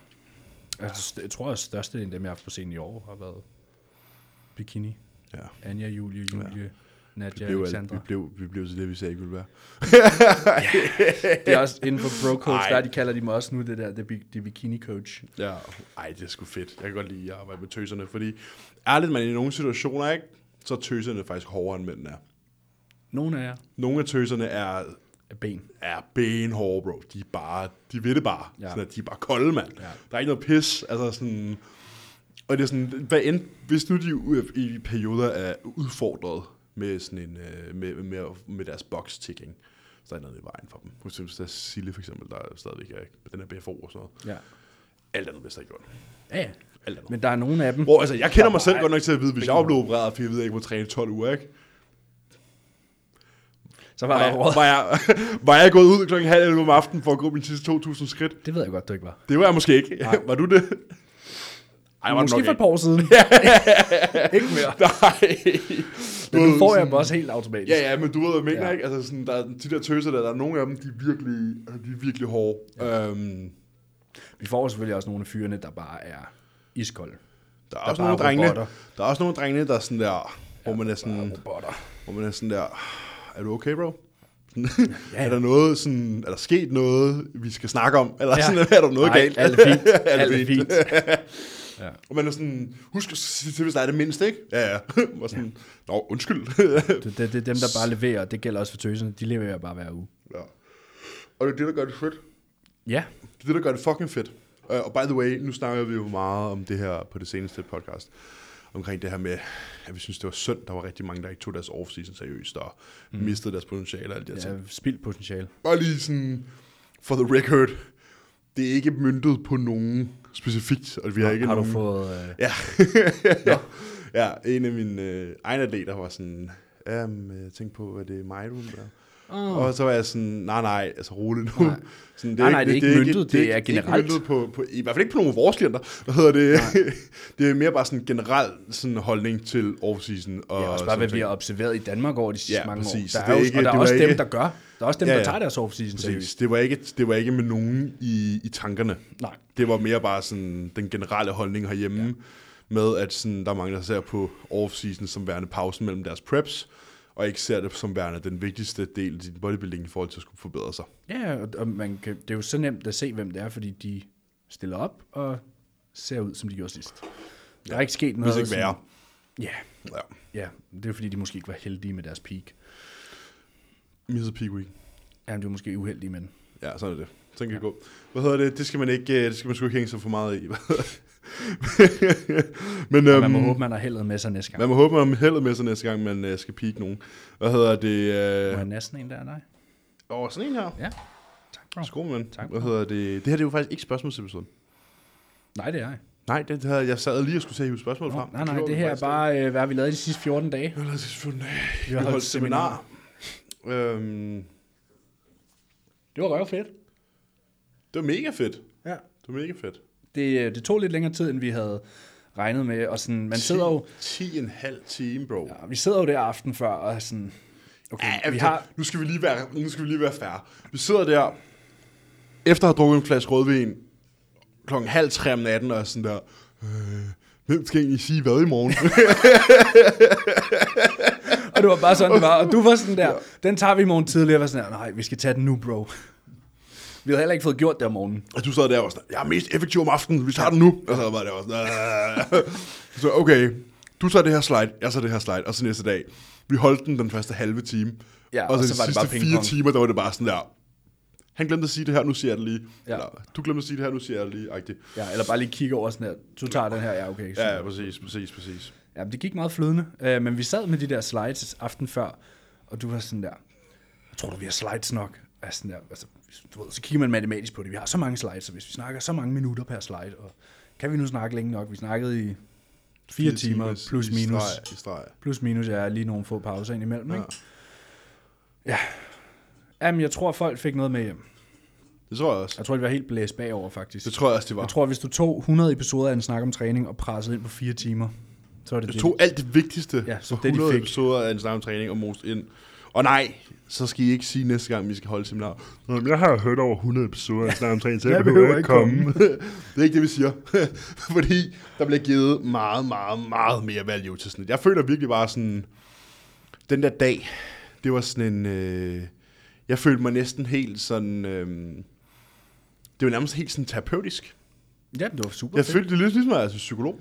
Speaker 2: Altså, jeg tror, at størstedelen af dem, jeg har haft på scenen i år, har været bikini.
Speaker 1: Ja.
Speaker 2: Anja, Julie, Julie, ja.
Speaker 1: Vi blev,
Speaker 2: Nadja,
Speaker 1: alt- vi, [laughs]
Speaker 2: Alexandra.
Speaker 1: blev, vi blev til det, vi sagde ikke ville være.
Speaker 2: Det er også inden for bro coach,
Speaker 1: Ej.
Speaker 2: der de kalder de mig også nu det der, det, er bi- det er bikini coach.
Speaker 1: Ja, ej, det er sgu fedt. Jeg kan godt lide at arbejde med tøserne, fordi ærligt, man i nogle situationer, ikke, så er tøserne faktisk hårdere, end mændene er.
Speaker 2: Nogle af jer
Speaker 1: Nogle af tøserne er,
Speaker 2: er ben.
Speaker 1: er benhårde, bro. De er bare, de ved det bare.
Speaker 2: Ja.
Speaker 1: Ja. Sådan, at de er bare kolde, mand.
Speaker 2: Ja.
Speaker 1: Ja. Der er ikke noget pis. Altså sådan, og det er sådan, hvad end, hvis nu de u- i perioder er udfordret med, sådan en, øh, med, med, med deres box ticking, så er der noget i vejen for dem. For eksempel, der er Sille, for eksempel, der er stadigvæk er, den er BFO og sådan noget.
Speaker 2: Ja.
Speaker 1: Alt andet bedst er ikke gjort.
Speaker 2: Ja, ja.
Speaker 1: Alt andet.
Speaker 2: Men der er nogle af dem.
Speaker 1: Bro, altså, jeg kender mig
Speaker 2: Der
Speaker 1: selv
Speaker 2: bare-
Speaker 1: godt nok til at vide, hvis jeg var blevet opereret, for jeg ved, jeg ikke må træne i 12 uger, ikke?
Speaker 2: Så var
Speaker 1: Var
Speaker 2: der
Speaker 1: jeg,
Speaker 2: råd.
Speaker 1: var jeg, var jeg gået ud klokken halv 11 om aftenen for at gå mine sidste 2.000 skridt? [laughs]
Speaker 2: Det ved jeg godt, du ikke var.
Speaker 1: Det var jeg måske ikke. var du det? Ej, var det
Speaker 2: Måske
Speaker 1: nok
Speaker 2: for et par år siden.
Speaker 1: [laughs]
Speaker 2: ikke mere.
Speaker 1: Nej.
Speaker 2: Men nu
Speaker 1: ved,
Speaker 2: får jeg
Speaker 1: sådan-
Speaker 2: dem også helt automatisk.
Speaker 1: Ja, ja, men du ved, hvad jeg mener,
Speaker 2: Ja.
Speaker 1: ja. ikke? Altså, sådan, der, er de der tøser der, der er nogle af dem, de er virkelig, altså, de er virkelig hårde. Ja. Øhm,
Speaker 2: Vi får selvfølgelig også nogle af fyrene, der bare er iskolde.
Speaker 1: der er
Speaker 2: Der
Speaker 1: også
Speaker 2: er
Speaker 1: nogle
Speaker 2: bare
Speaker 1: drengene,
Speaker 2: robotter.
Speaker 1: der er også nogle drengene, der er sådan der, hvor man er sådan,
Speaker 2: Bare robotter.
Speaker 1: hvor man er sådan der, er du okay, [laughs] bro? Sådan, er der noget, sådan, er der sket noget, vi skal snakke om? Eller
Speaker 2: Ja.
Speaker 1: ja. sådan, [laughs] er der noget
Speaker 2: Nej,
Speaker 1: galt? [laughs]
Speaker 2: alt er fint.
Speaker 1: Alt er
Speaker 2: Alt er fint. Ja.
Speaker 1: Og man er sådan, husk at sige til, hvis der er det mindste, ikke? Ja, [laughs] ja. Og sådan, ja. nå, undskyld. [laughs]
Speaker 2: Det, det, det er dem, der bare leverer. Det gælder også for tøserne. De leverer bare hver uge.
Speaker 1: ja. Og det er det, der gør det fedt.
Speaker 2: Ja.
Speaker 1: Det er det, der gør det fucking fedt. Øh, Og by the way, nu snakker vi jo meget om det her på det seneste podcast. Omkring det her med, at vi synes, det var synd, der var rigtig mange, der ikke tog deres off-season seriøst og mm. mistede deres potentiale og alt det der. Ja.
Speaker 2: ja Spild potentiale.
Speaker 1: Bare lige sådan, for the record, det er ikke myndet på nogen specifikt, og vi har ikke
Speaker 2: Har du
Speaker 1: nogen...
Speaker 2: fået... Øh,
Speaker 1: Ja. ja. [laughs] ja, en af mine øh, egne atleter var sådan, jamen, jeg tænkte på, at det er mig, du der. Oh. Og så var jeg sådan, nej, nej, altså rolig nu.
Speaker 2: Nej.
Speaker 1: [laughs] Sådan,
Speaker 2: Nej, nej, det er ikke myntet, det er
Speaker 1: ikke-
Speaker 2: generelt.
Speaker 1: Det er ikke myntet på, på, i hvert fald ikke på nogle af vores klienter. Hvad hedder det? [laughs] det er mere bare sådan en generel sådan holdning til off-season. Og
Speaker 2: Ja, også bare,
Speaker 1: sådan
Speaker 2: hvad vi
Speaker 1: ting.
Speaker 2: har observeret i Danmark over de sidste
Speaker 1: Ja,
Speaker 2: mange
Speaker 1: præcis. Så
Speaker 2: år. Der
Speaker 1: det
Speaker 2: er
Speaker 1: er
Speaker 2: jo,
Speaker 1: ikke-
Speaker 2: og der er
Speaker 1: det var
Speaker 2: også
Speaker 1: ikke-
Speaker 2: dem, der gør. Der er også dem,
Speaker 1: Ja,
Speaker 2: ja,
Speaker 1: ja.
Speaker 2: der tager deres off-season
Speaker 1: Præcis.
Speaker 2: seriøst.
Speaker 1: Det var, ikke, det var ikke med nogen i, i tankerne.
Speaker 2: Nej.
Speaker 1: Det var mere bare sådan den generelle holdning herhjemme, ja. med at sådan, der er mange, der ser på off-season som værende pausen mellem deres preps, og ikke ser det som værende den vigtigste del af din bodybuilding i forhold til at skulle forbedre sig.
Speaker 2: Ja, og- og man kan, det er jo så nemt at se, hvem det er, fordi de stiller op og ser ud, som de gjorde sidst. Der er ikke sket noget.
Speaker 1: Hvis ikke
Speaker 2: sådan-
Speaker 1: værre.
Speaker 2: Ja,
Speaker 1: Ja.
Speaker 2: ja, det er fordi, de måske ikke var heldige med deres peak.
Speaker 1: Misset peak week.
Speaker 2: Jamen, de var måske uheldige, men...
Speaker 1: Ja, sådan er det. Sådan kan det gå. Hvad hedder det? Det skal man ikke, øh, det skal man sgu ikke hænge sig for meget i. [laughs] Men øhm,
Speaker 2: Man må håbe, man har heldet med sig næste gang.
Speaker 1: man må håbe, man har heldet med sig næste gang, man øh, skal peak nogen. Hvad hedder det?
Speaker 2: Må
Speaker 1: Øh,
Speaker 2: jeg næsten en der, nej?
Speaker 1: Åh, sådan en her.
Speaker 2: Ja. Tak, bro.
Speaker 1: Skål, mand.
Speaker 2: Tak.
Speaker 1: Hvad hedder det? Det her det er jo faktisk ikke spørgsmålsepisoden.
Speaker 2: Nej, det er jeg.
Speaker 1: Nej, det her, jeg sad lige og skulle til at hive spørgsmål
Speaker 2: Nå,
Speaker 1: frem.
Speaker 2: nej, nej, det her er bare, øh, hvad har vi lavet de sidste 14 dage?
Speaker 1: Jeg har selvfølgelig...
Speaker 2: Vi
Speaker 1: Vi har holdt seminar. Øhm,
Speaker 2: Det var røvfedt.
Speaker 1: det var mega fedt.
Speaker 2: Ja.
Speaker 1: Det var mega fedt.
Speaker 2: Det, øh, det tog lidt længere tid, end vi havde regnet med, og sådan, man
Speaker 1: 10
Speaker 2: sidder jo,
Speaker 1: 10 en halv time, bro. Ja.
Speaker 2: ja, vi sidder jo der aften før, og er sådan, okay,
Speaker 1: Ja,
Speaker 2: vi
Speaker 1: vi
Speaker 2: har,
Speaker 1: Nu skal vi lige være, nu skal vi lige være færre. Vi sidder der, efter at have drukket en flaske rødvin, klokken halv tre om natten, og er sådan der, øh, hvem skal egentlig sige hvad i morgen?
Speaker 2: og det var bare sådan, det var, og du var [laughs] sådan der, den tager vi i morgen tidligere, og jeg var sådan der, nej, vi skal tage den nu, bro. Vi havde heller ikke fået gjort det om morgenen.
Speaker 1: Og du sad der og var sådan, jeg er mest effektiv om aftenen, vi tager den nu. Og så var det også sådan, "Øh." Så okay, du tager det her slide, jeg tager det her slide, og så næste dag. Vi holdt den den første halve time.
Speaker 2: Ja,
Speaker 1: og så, så de var sidste det bare fire
Speaker 2: pingpong.
Speaker 1: timer, der var det bare sådan der, han glemte at sige det her, nu siger jeg det lige.
Speaker 2: Ja.
Speaker 1: Ja. Eller, du glemte at sige det her, nu siger jeg det lige. Agtigt.
Speaker 2: Ja, eller bare lige kigge over sådan her, du tager den her, ja, okay.
Speaker 1: Ja, ja, præcis, præcis, præcis.
Speaker 2: Ja, men det gik meget flydende. Øh, men vi sad med de der slides aften før, og du var sådan der, jeg tror du, vi har slides nok? Ja, sådan der, altså, du ved, så kigger man matematisk på det. Vi har så mange slides, og hvis vi snakker så mange minutter per slide, og kan vi nu snakke længe nok? Vi snakkede i fire timer,
Speaker 1: timers
Speaker 2: plus
Speaker 1: i
Speaker 2: minus.
Speaker 1: Streg, i streg.
Speaker 2: Plus minus er lige nogle få pauser indimellem,
Speaker 1: Ja.
Speaker 2: ikke? Ja. Jamen, jeg tror, folk fik noget med hjem.
Speaker 1: Det tror jeg også.
Speaker 2: Jeg tror, de var helt blæst bagover, faktisk.
Speaker 1: Det tror jeg også, det var.
Speaker 2: Jeg tror, hvis du tog 100 episoder af en snak om træning og pressede ind på fire timer, så er det
Speaker 1: Jeg
Speaker 2: det.
Speaker 1: tog alt det vigtigste
Speaker 2: Ja,
Speaker 1: ja,
Speaker 2: så
Speaker 1: så
Speaker 2: det, de
Speaker 1: 100
Speaker 2: fik.
Speaker 1: episoder af en snak om træning og most ind. Og nej, så skal I ikke sige næste gang, vi skal holde seminar. "Nå, men Jeg har hørt over 100 episoder af snak om
Speaker 2: [laughs]
Speaker 1: træning, så jeg,
Speaker 2: Jeg
Speaker 1: behøver
Speaker 2: behøver
Speaker 1: ikke komme. [laughs] det er ikke det, vi siger. Fordi der bliver givet meget, meget, meget mere value til sådan et. Jeg føler virkelig bare sådan, den der dag, det var sådan en... Øh, jeg følte mig næsten helt sådan... Øh, det var nærmest helt sådan terapeutisk.
Speaker 2: Ja, det var super
Speaker 1: Jeg
Speaker 2: fedt.
Speaker 1: følte det lidt ligesom, at jeg er psykolog.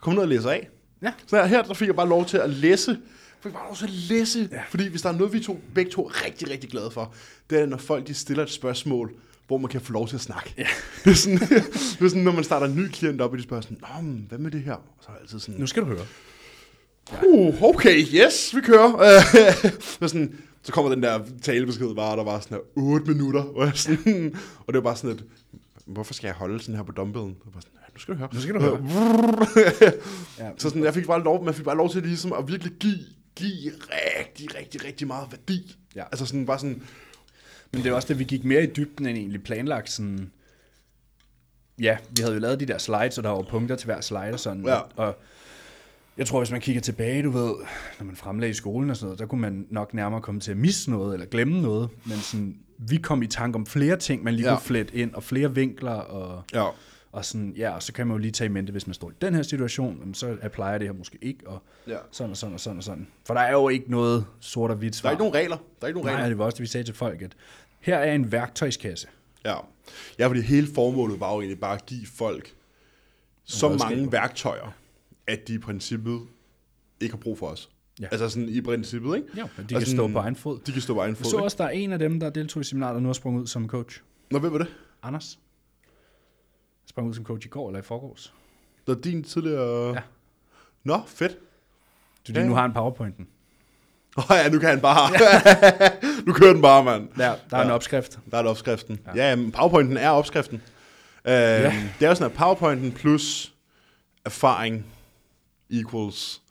Speaker 1: Kom ned og læser af.
Speaker 2: Ja.
Speaker 1: Så her, her der fik jeg bare lov til at læse. Jeg fik bare lov til at læse. Ja. Fordi hvis der er noget, vi to, begge to er rigtig, rigtig glade for, det er, når folk de stiller et spørgsmål, hvor man kan få lov til at snakke. Ja. Det, er sådan, [laughs] det er sådan, når man starter en ny klient op, og de spørger sådan, Nå, men hvad med det her? Og så er jeg altid sådan,
Speaker 2: Nu skal du høre.
Speaker 1: uh, okay, yes, vi kører. [laughs] Øh, og sådan, så kommer den der talebesked bare, der var sådan her 8 minutter, og, jeg sådan, [laughs] og det var bare sådan et, hvorfor skal jeg holde sådan her på dumbbellen? Og bare sådan, "Ja, nu skal du høre.
Speaker 2: Nu skal du høre.
Speaker 1: [laughs]
Speaker 2: Ja,
Speaker 1: Så sådan, jeg fik bare lov, man fik bare lov til ligesom at virkelig give, give rigtig, rigtig, rigtig meget værdi.
Speaker 2: Ja.
Speaker 1: Altså sådan bare sådan,
Speaker 2: Men det er også det, vi gik mere i dybden end egentlig planlagt. Sådan, ja, vi havde jo lavet de der slides, og der var jo punkter til hver slide og sådan.
Speaker 1: Ja.
Speaker 2: Og jeg tror, hvis man kigger tilbage, du ved, når man fremlagde i skolen og sådan noget, der kunne man nok nærmere komme til at misse noget eller glemme noget. Men sådan, vi kom i tanke om flere ting, man lige
Speaker 1: Ja.
Speaker 2: ja. kunne flette ind, og flere vinkler, og,
Speaker 1: Ja.
Speaker 2: og sådan, ja, og så kan man jo lige tage i mente, hvis man står i den her situation, jamen, så applyer det her måske ikke, og
Speaker 1: Ja.
Speaker 2: sådan og sådan og sådan og sådan. For der er jo ikke noget sort og hvidt
Speaker 1: Der
Speaker 2: svar.
Speaker 1: er ikke nogen regler. Der er ikke nogen regler.
Speaker 2: Nej, det var også det, vi sagde til folk, at her er en værktøjskasse.
Speaker 1: Ja. ja, fordi hele formålet var jo egentlig bare at give folk så
Speaker 2: redskaber.
Speaker 1: mange værktøjer, at de i princippet ikke har brug for os.
Speaker 2: Ja.
Speaker 1: Altså sådan i princippet, ikke?
Speaker 2: Ja, og de
Speaker 1: Og
Speaker 2: kan stå på egen fod.
Speaker 1: De kan stå på egen
Speaker 2: Jeg
Speaker 1: fod.
Speaker 2: så
Speaker 1: Så
Speaker 2: også, der er en af dem, der deltog i seminaret, der nu har sprunget ud som coach.
Speaker 1: Nå, hvem var det?
Speaker 2: Anders. Sprang ud som coach i går eller i forgårs.
Speaker 1: Det var din tidligere...
Speaker 2: Ja.
Speaker 1: Nå, fedt. [laughs]
Speaker 2: Du ja.
Speaker 1: Ja.
Speaker 2: nu har en powerpointen.
Speaker 1: Åh oh, ja, nu kan han bare. [laughs] nu kører den bare, mand.
Speaker 2: Ja, der er ja. en
Speaker 1: Ja.
Speaker 2: opskrift.
Speaker 1: Der er det opskriften. Ja, ja men PowerPointen er opskriften. Øh, ja. Det er jo sådan, at PowerPointen plus erfaring equals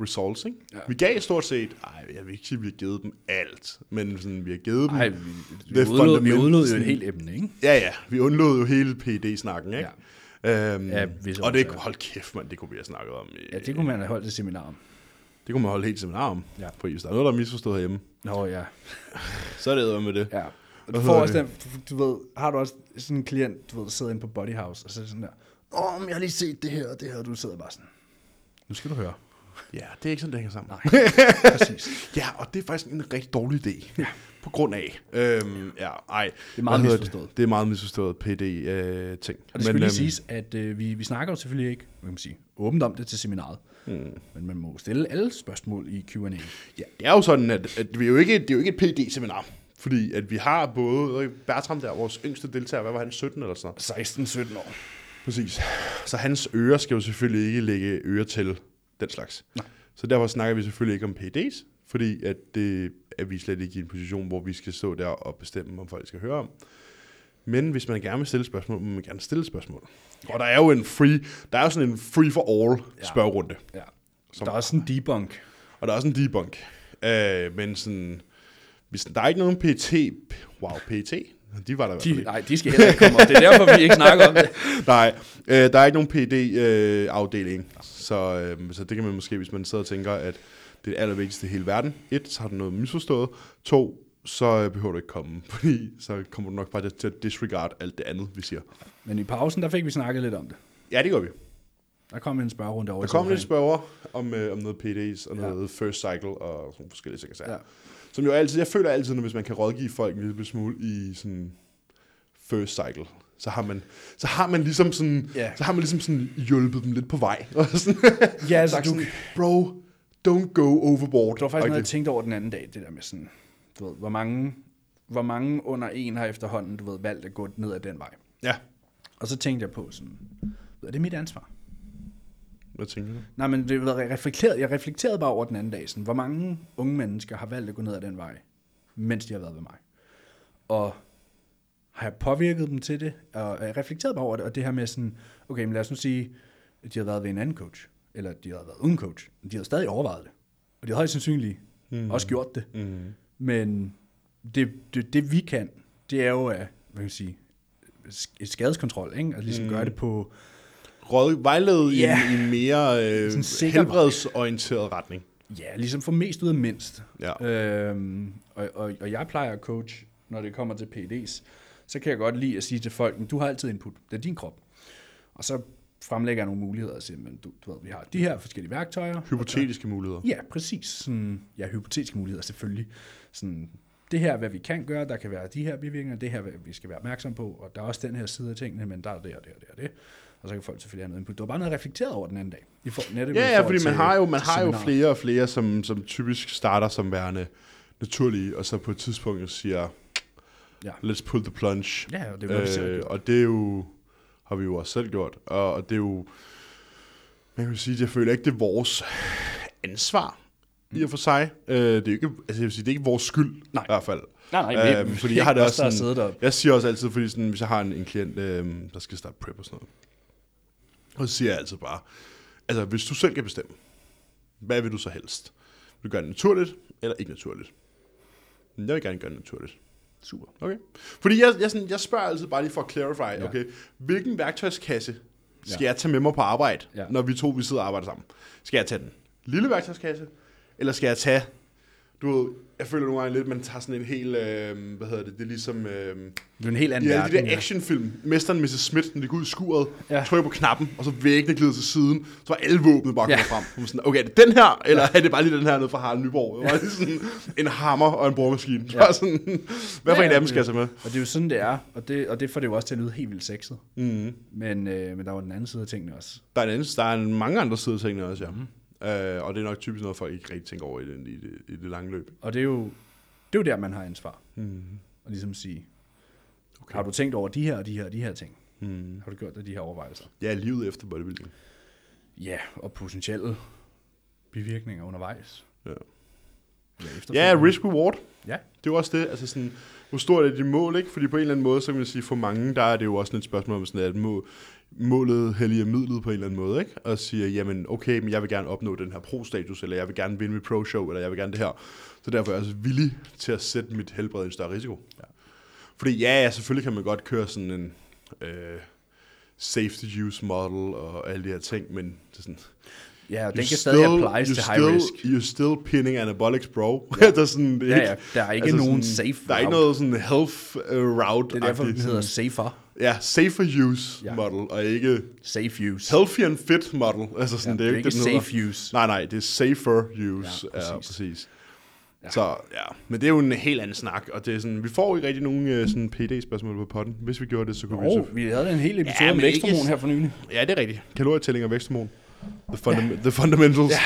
Speaker 1: results, ikke?
Speaker 2: Ja.
Speaker 1: Ja. Vi gav stort set, ej, jeg vil ikke sige, at vi har givet dem alt, men sådan, vi har givet dem...
Speaker 2: Nej, vi, vi,
Speaker 1: Det er
Speaker 2: udlod, vi
Speaker 1: fundamentet.
Speaker 2: udlod jo et helt emne, ikke?
Speaker 1: Ja, ja, vi undlod jo hele pd snakken ikke? Ja. Øhm,
Speaker 2: Ja,
Speaker 1: ja,
Speaker 2: hvis
Speaker 1: og det,
Speaker 2: årsager.
Speaker 1: hold kæft, mand, det kunne vi have snakket om. i-
Speaker 2: Ja, det kunne man have holdt et seminar om.
Speaker 1: det kunne man holde helt seminar om.
Speaker 2: Ja.
Speaker 1: Ja. For hvis der er noget, der er misforstået hjemme,
Speaker 2: Nå ja,
Speaker 1: så er det edder med det. Ja.
Speaker 2: ja. Og du
Speaker 1: Hvad
Speaker 2: får
Speaker 1: hedder
Speaker 2: også den, du ved, har du også sådan en klient, du ved, der sidder inde på Body House, og så er det sådan der, åh, men jeg har lige set det her, og det her, og du sidder bare sådan, nu skal du høre.
Speaker 1: ja, det er ikke sådan, det hænger sammen. Nej.
Speaker 2: [laughs] Præcis.
Speaker 1: Ja, og det er faktisk en rigtig dårlig idé. Ja. På grund af. Øhm, ja, ej. Det
Speaker 2: meget
Speaker 1: hedder
Speaker 2: misforstået.
Speaker 1: Det? det er meget misforstået PD-ting. Øh, ting.
Speaker 2: Og det skal Men, lige
Speaker 1: øhm,
Speaker 2: siges, at øh, vi, vi snakker jo selvfølgelig ikke hvad kan man sige, åbent om det til seminaret. Mm. Men man må stille alle spørgsmål i Q&A.
Speaker 1: Ja, det er jo sådan, at, at vi er jo ikke, det er jo ikke et PD-seminar. Fordi at vi har både jeg ved ikke, Bertram der, vores yngste deltager, hvad var han, 17 eller sådan noget?
Speaker 2: 16-17 år.
Speaker 1: Præcis. Så hans ører skal jo selvfølgelig ikke lægge ører til den slags. Nej. Så derfor snakker vi selvfølgelig ikke om PD's, fordi at det er vi slet ikke i en position, hvor vi skal stå der og bestemme, om folk skal høre om. Men hvis man gerne vil stille spørgsmål, må man gerne stille spørgsmål. Og der er jo en free, der er jo sådan en free for all
Speaker 2: Ja.
Speaker 1: spørgerunde.
Speaker 2: Ja.
Speaker 1: Som-
Speaker 2: der er også en debunk.
Speaker 1: Og der er også en debunk. Øh, men sådan, hvis der er ikke nogen PT, wow, PT, de var der i hvert fald
Speaker 2: De, nej, de skal heller ikke komme op. Det er derfor, vi ikke snakker om det.
Speaker 1: Nej, øh, der er ikke nogen PD-afdeling, så, øh, så det kan man måske, hvis man sidder og tænker, at det er det allervigtigste i hele verden. Et, så har du noget misforstået. To, så øh, behøver du ikke komme, [laughs] fordi så kommer du nok bare til at disregard alt det andet, vi siger.
Speaker 2: Men i pausen, der fik vi snakket lidt om det.
Speaker 1: Ja, det gør vi.
Speaker 2: Der kom en spørgerunde over.
Speaker 1: Der kommer lidt spørger om, øh, om noget PD's og
Speaker 2: Ja.
Speaker 1: noget first cycle og sådan nogle forskellige ting.
Speaker 2: Ja.
Speaker 1: Ja. Som jo altid, jeg føler altid, at hvis man kan rådgive folk en lille smule i sådan first cycle, så har man, så har man ligesom sådan,
Speaker 2: Ja.
Speaker 1: ja. så har man ligesom sådan hjulpet dem lidt på vej. [laughs] Og sådan,
Speaker 2: Ja, altså,
Speaker 1: sagt
Speaker 2: du,
Speaker 1: sådan, bro, don't go overboard.
Speaker 2: det var faktisk
Speaker 1: Og
Speaker 2: noget, jeg
Speaker 1: det-
Speaker 2: tænkte over den anden dag, det der med sådan, du ved, hvor mange, hvor mange under en har efterhånden, du ved, valgt at gå ned ad den vej.
Speaker 1: Ja,
Speaker 2: Og så tænkte jeg på sådan, er det mit ansvar?
Speaker 1: hvad tænker du?
Speaker 2: Nej, men det var reflekteret, jeg reflekterede bare over den anden dag, sådan, hvor mange unge mennesker har valgt at gå ned ad den vej, mens de har været ved mig. Og har jeg påvirket dem til det, og jeg reflekterede bare over det, og det her med sådan, okay, men lad os nu sige, at de har været ved en anden coach, eller de har været uden coach, men de har stadig overvejet det, og de har højst sandsynligt mm. også gjort det.
Speaker 1: Mm.
Speaker 2: Men det, det, det vi kan, det er jo at, hvad kan man sige, et skadeskontrol, ikke? Og ligesom mm. gøre det på,
Speaker 1: Råd, vejlede
Speaker 2: Ja.
Speaker 1: i, en, i en mere
Speaker 2: Sådan
Speaker 1: øh,
Speaker 2: sikker vej.
Speaker 1: helbredsorienteret retning.
Speaker 2: Ja, ligesom få mest ud af mindst.
Speaker 1: Ja.
Speaker 2: Øhm, og, og, og jeg plejer at coach, når det kommer til PD's, så kan jeg godt lide at sige til folk, "Men du har altid input, det er din krop. Og så fremlægger jeg nogle muligheder og siger, men du, du ved, vi har de her forskellige værktøjer.
Speaker 1: Hypotetiske muligheder.
Speaker 2: Ja, præcis. Sådan, ja, hypotetiske muligheder selvfølgelig. Sådan, det her er, hvad vi kan gøre, der kan være de her bivirkninger, det her, hvad vi skal være opmærksom på, og der er også den her side af tingene, men der er det og det og det og det. Og så kan folk selvfølgelig have noget input. Det var bare noget reflekteret over den anden dag. I for, netop i
Speaker 1: Ja, ja,
Speaker 2: forhold
Speaker 1: fordi man
Speaker 2: til-
Speaker 1: har jo, man
Speaker 2: til
Speaker 1: har jo
Speaker 2: seminaret.
Speaker 1: flere og flere, som, som typisk starter som værende naturlige, og så på et tidspunkt siger,
Speaker 2: Ja.
Speaker 1: let's pull the plunge. Øh,
Speaker 2: Ja, og det er jo, hvad vi selv har gjort.
Speaker 1: og det er jo, har vi jo også selv gjort, og, og det er jo, man kan jo sige, at jeg føler ikke, det er vores ansvar, i og for sig. Øh, det er jo ikke, altså jeg vil sige, det er ikke vores skyld,
Speaker 2: Nej.
Speaker 1: i hvert fald.
Speaker 2: Nej, nej,
Speaker 1: Øhm,
Speaker 2: vi,
Speaker 1: fordi jeg har det også
Speaker 2: der
Speaker 1: sådan,
Speaker 2: siddet der.
Speaker 1: Jeg siger også altid, fordi sådan, hvis jeg har en, en klient, øh, der skal starte prep og sådan noget, og så siger jeg altid bare, altså hvis du selv kan bestemme, hvad vil du så helst? Vil du gøre det naturligt, eller ikke naturligt? Men Jeg vil gerne gøre det naturligt.
Speaker 2: Super.
Speaker 1: Okay. Fordi jeg, jeg, sådan, jeg spørger altid bare lige for at clarify, ja. okay, hvilken værktøjskasse skal ja. jeg tage med mig på arbejde,
Speaker 2: Ja.
Speaker 1: ja. når vi to vi sidder og arbejder sammen? Skal jeg tage den lille værktøjskasse, eller skal jeg tage, du ved, jeg føler nogle gange lidt, man tager sådan en hel, øh, hvad hedder det, det er ligesom, øh,
Speaker 2: Det er en helt anden
Speaker 1: i alle de
Speaker 2: verden.
Speaker 1: der
Speaker 2: ja.
Speaker 1: actionfilm, mesteren Mrs. Smith, den gik ud i skuret,
Speaker 2: Ja.
Speaker 1: ja. trykker på knappen, og så væggene glider til siden, så var alle våbnet bare
Speaker 2: Ja.
Speaker 1: kommet ja. frem. Så man Sådan, okay, er det den her, eller ja. er det bare lige den her nede fra Harald Nyborg? Det var lige sådan en hammer og en boremaskine.
Speaker 2: Ja.
Speaker 1: Ja. Bare sådan, hvad for
Speaker 2: Ja,
Speaker 1: en af dem
Speaker 2: ja.
Speaker 1: skal jeg tage med?
Speaker 2: Og det er jo sådan, det er. Og det, og det får det jo også til at lyde helt vildt sexet.
Speaker 1: Mm.
Speaker 2: Men, øh, men der er jo den anden side af tingene også.
Speaker 1: Der er, en anden, der er en mange andre sider af tingene også, ja.
Speaker 2: Mm-hmm.
Speaker 1: Mm. Øh, og det er nok typisk noget, folk ikke rigtig tænker over i, den, i, det, i det lange løb.
Speaker 2: Og det er jo, det er jo der, man har ansvar.
Speaker 1: Mm.
Speaker 2: Og ligesom sige, okay.
Speaker 1: Okay.
Speaker 2: har du tænkt over de her og de her og de her ting?
Speaker 1: Mm.
Speaker 2: Har du gjort dig de her overvejelser?
Speaker 1: Ja, livet efter bodybuilding.
Speaker 2: Ja, og potentielle bivirkninger undervejs.
Speaker 1: Ja.
Speaker 2: Eller
Speaker 1: Ja,
Speaker 2: efterfølgende.
Speaker 1: risk-reward.
Speaker 2: Ja.
Speaker 1: Det er jo også det, altså sådan, hvor stort er dit mål, ikke? Fordi på en eller anden måde, så kan man sige, for mange, der er det jo også sådan et spørgsmål om sådan, at må, målet helliger midlet på en eller anden måde, ikke? Og siger, jamen okay, men jeg vil gerne opnå den her pro-status, eller jeg vil gerne vinde mit pro-show, eller jeg vil gerne det her. Så derfor er jeg også villig til at sætte mit helbred i en større risiko. Ja. Fordi ja, ja, selvfølgelig kan man godt køre sådan en øh, safety use model og alle de her ting, men det er sådan,
Speaker 2: ja, og den
Speaker 1: you
Speaker 2: kan stadig
Speaker 1: still-
Speaker 2: applies
Speaker 1: you
Speaker 2: til high
Speaker 1: still,
Speaker 2: risk.
Speaker 1: You're still pinning anabolics, bro. [laughs] Ja. der, er sådan, det er
Speaker 2: Ja,
Speaker 1: ikke,
Speaker 2: ja, der er ikke nogen safe
Speaker 1: Der er ikke
Speaker 2: route.
Speaker 1: noget sådan health uh, route.
Speaker 2: Det er derfor, den hedder safer.
Speaker 1: Ja, safer use
Speaker 2: Ja.
Speaker 1: ja. model, og ikke
Speaker 2: Safe use.
Speaker 1: healthy and fit model. Altså sådan,
Speaker 2: Ja,
Speaker 1: det er jo
Speaker 2: det er
Speaker 1: ikke
Speaker 2: ikke
Speaker 1: den
Speaker 2: safe
Speaker 1: hedder.
Speaker 2: use.
Speaker 1: Nej, nej, det er safer use.
Speaker 2: Ja,
Speaker 1: Ja, præcis.
Speaker 2: præcis.
Speaker 1: Ja, præcis.
Speaker 2: Ja.
Speaker 1: Ja. Så ja, men det er jo en helt anden snak, og det er sådan, vi får ikke rigtig nogen uh, sådan PD-spørgsmål på potten. Hvis vi gjorde det, så kunne vi
Speaker 2: Oh, vi havde en hel episode
Speaker 1: Ja,
Speaker 2: ja, om
Speaker 1: men ikke-
Speaker 2: væksthormon her for nylig.
Speaker 1: Ja, det er rigtigt. Kalorietælling og væksthormon. The, funda- the fundamentals. Ja.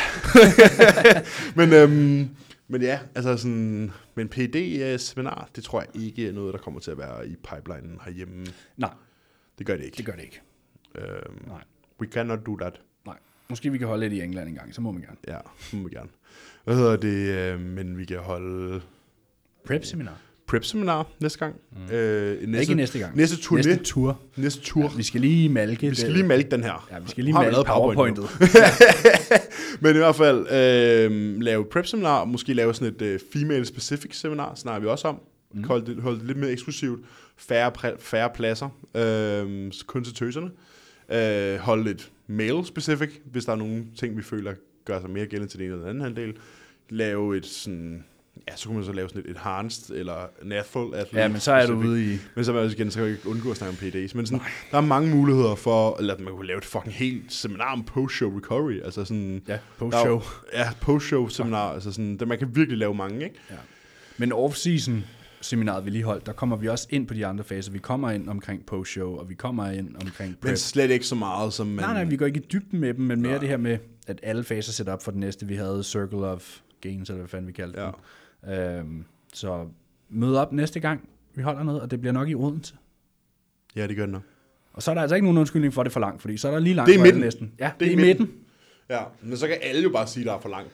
Speaker 1: [laughs] men, øhm, men ja, altså sådan... Men PD-seminar, det tror jeg ikke er noget, der kommer til at være i pipelinen herhjemme.
Speaker 2: Nej,
Speaker 1: Det gør det ikke.
Speaker 2: det gør det ikke.
Speaker 1: Øhm,
Speaker 2: Nej,
Speaker 1: we cannot do that.
Speaker 2: nej. Måske vi kan holde lidt i England engang, så må man gerne.
Speaker 1: Ja, det må vi gerne. Hvad hedder det? Øh, men vi kan holde
Speaker 2: Prep-seminar.
Speaker 1: prep-seminar næste gang. Mm. Øh,
Speaker 2: Næste, ikke næste gang.
Speaker 1: Næste turné.
Speaker 2: Næste
Speaker 1: Næste,
Speaker 2: tur.
Speaker 1: næste tur.
Speaker 2: Vi skal lige malke
Speaker 1: Vi skal
Speaker 2: det.
Speaker 1: lige malke den her.
Speaker 2: Ja, vi skal lige
Speaker 1: Har vi
Speaker 2: malke
Speaker 1: lavet PowerPoint
Speaker 2: powerpointet.
Speaker 1: Men i hvert fald øh, lave prep-seminar, måske lave sådan et øh, female-specific seminar, snakker vi også om. Mm. Hold, det, hold det lidt mere eksklusivt. Færre, præ- færre pladser, øh, kun til tøserne. Øh, hold lidt male-specific, hvis der er nogle ting, vi føler gør sig mere gældende til den ene eller den anden halvdel. Lave et sådan... Ja, så kunne man så lave sådan et enhanced eller natural athlete.
Speaker 2: [laughs] ja, men så er du
Speaker 1: specific.
Speaker 2: ude i...
Speaker 1: Men så er jeg også igen, så kan jeg ikke undgå at snakke om PDAs. Men sådan, der er mange muligheder for, eller at man kunne lave et fucking helt seminar om post-show recovery. Altså sådan,
Speaker 2: Ja,
Speaker 1: der er
Speaker 2: post-show.
Speaker 1: jo- Ja, post-show seminar. Altså sådan, der, man kan virkelig lave mange, ikke?
Speaker 2: Ja. Men off-season seminaret, vi lige holdt, der kommer vi også ind på de andre faser. Vi kommer ind omkring post-show, og vi kommer ind omkring prep.
Speaker 1: Men slet ikke så meget som man...
Speaker 2: nej, nej, vi går ikke i dybden med dem, men mere nej. det her med, at alle faser sætter op for den næste. Vi havde Circle of Gains, eller hvad fanden vi kaldte
Speaker 1: Ja.
Speaker 2: den. Øhm, så mød op næste gang, vi holder noget, og det bliver nok i Odense.
Speaker 1: Ja, det gør den nok.
Speaker 2: Og så er der altså ikke nogen undskyldning for at det er for langt, fordi så er der lige langt
Speaker 1: Det er i
Speaker 2: vej
Speaker 1: midten.
Speaker 2: næsten. Ja, det,
Speaker 1: Det
Speaker 2: er
Speaker 1: er
Speaker 2: i
Speaker 1: i
Speaker 2: midten.
Speaker 1: Ja, men så kan alle jo bare sige, at der er for langt.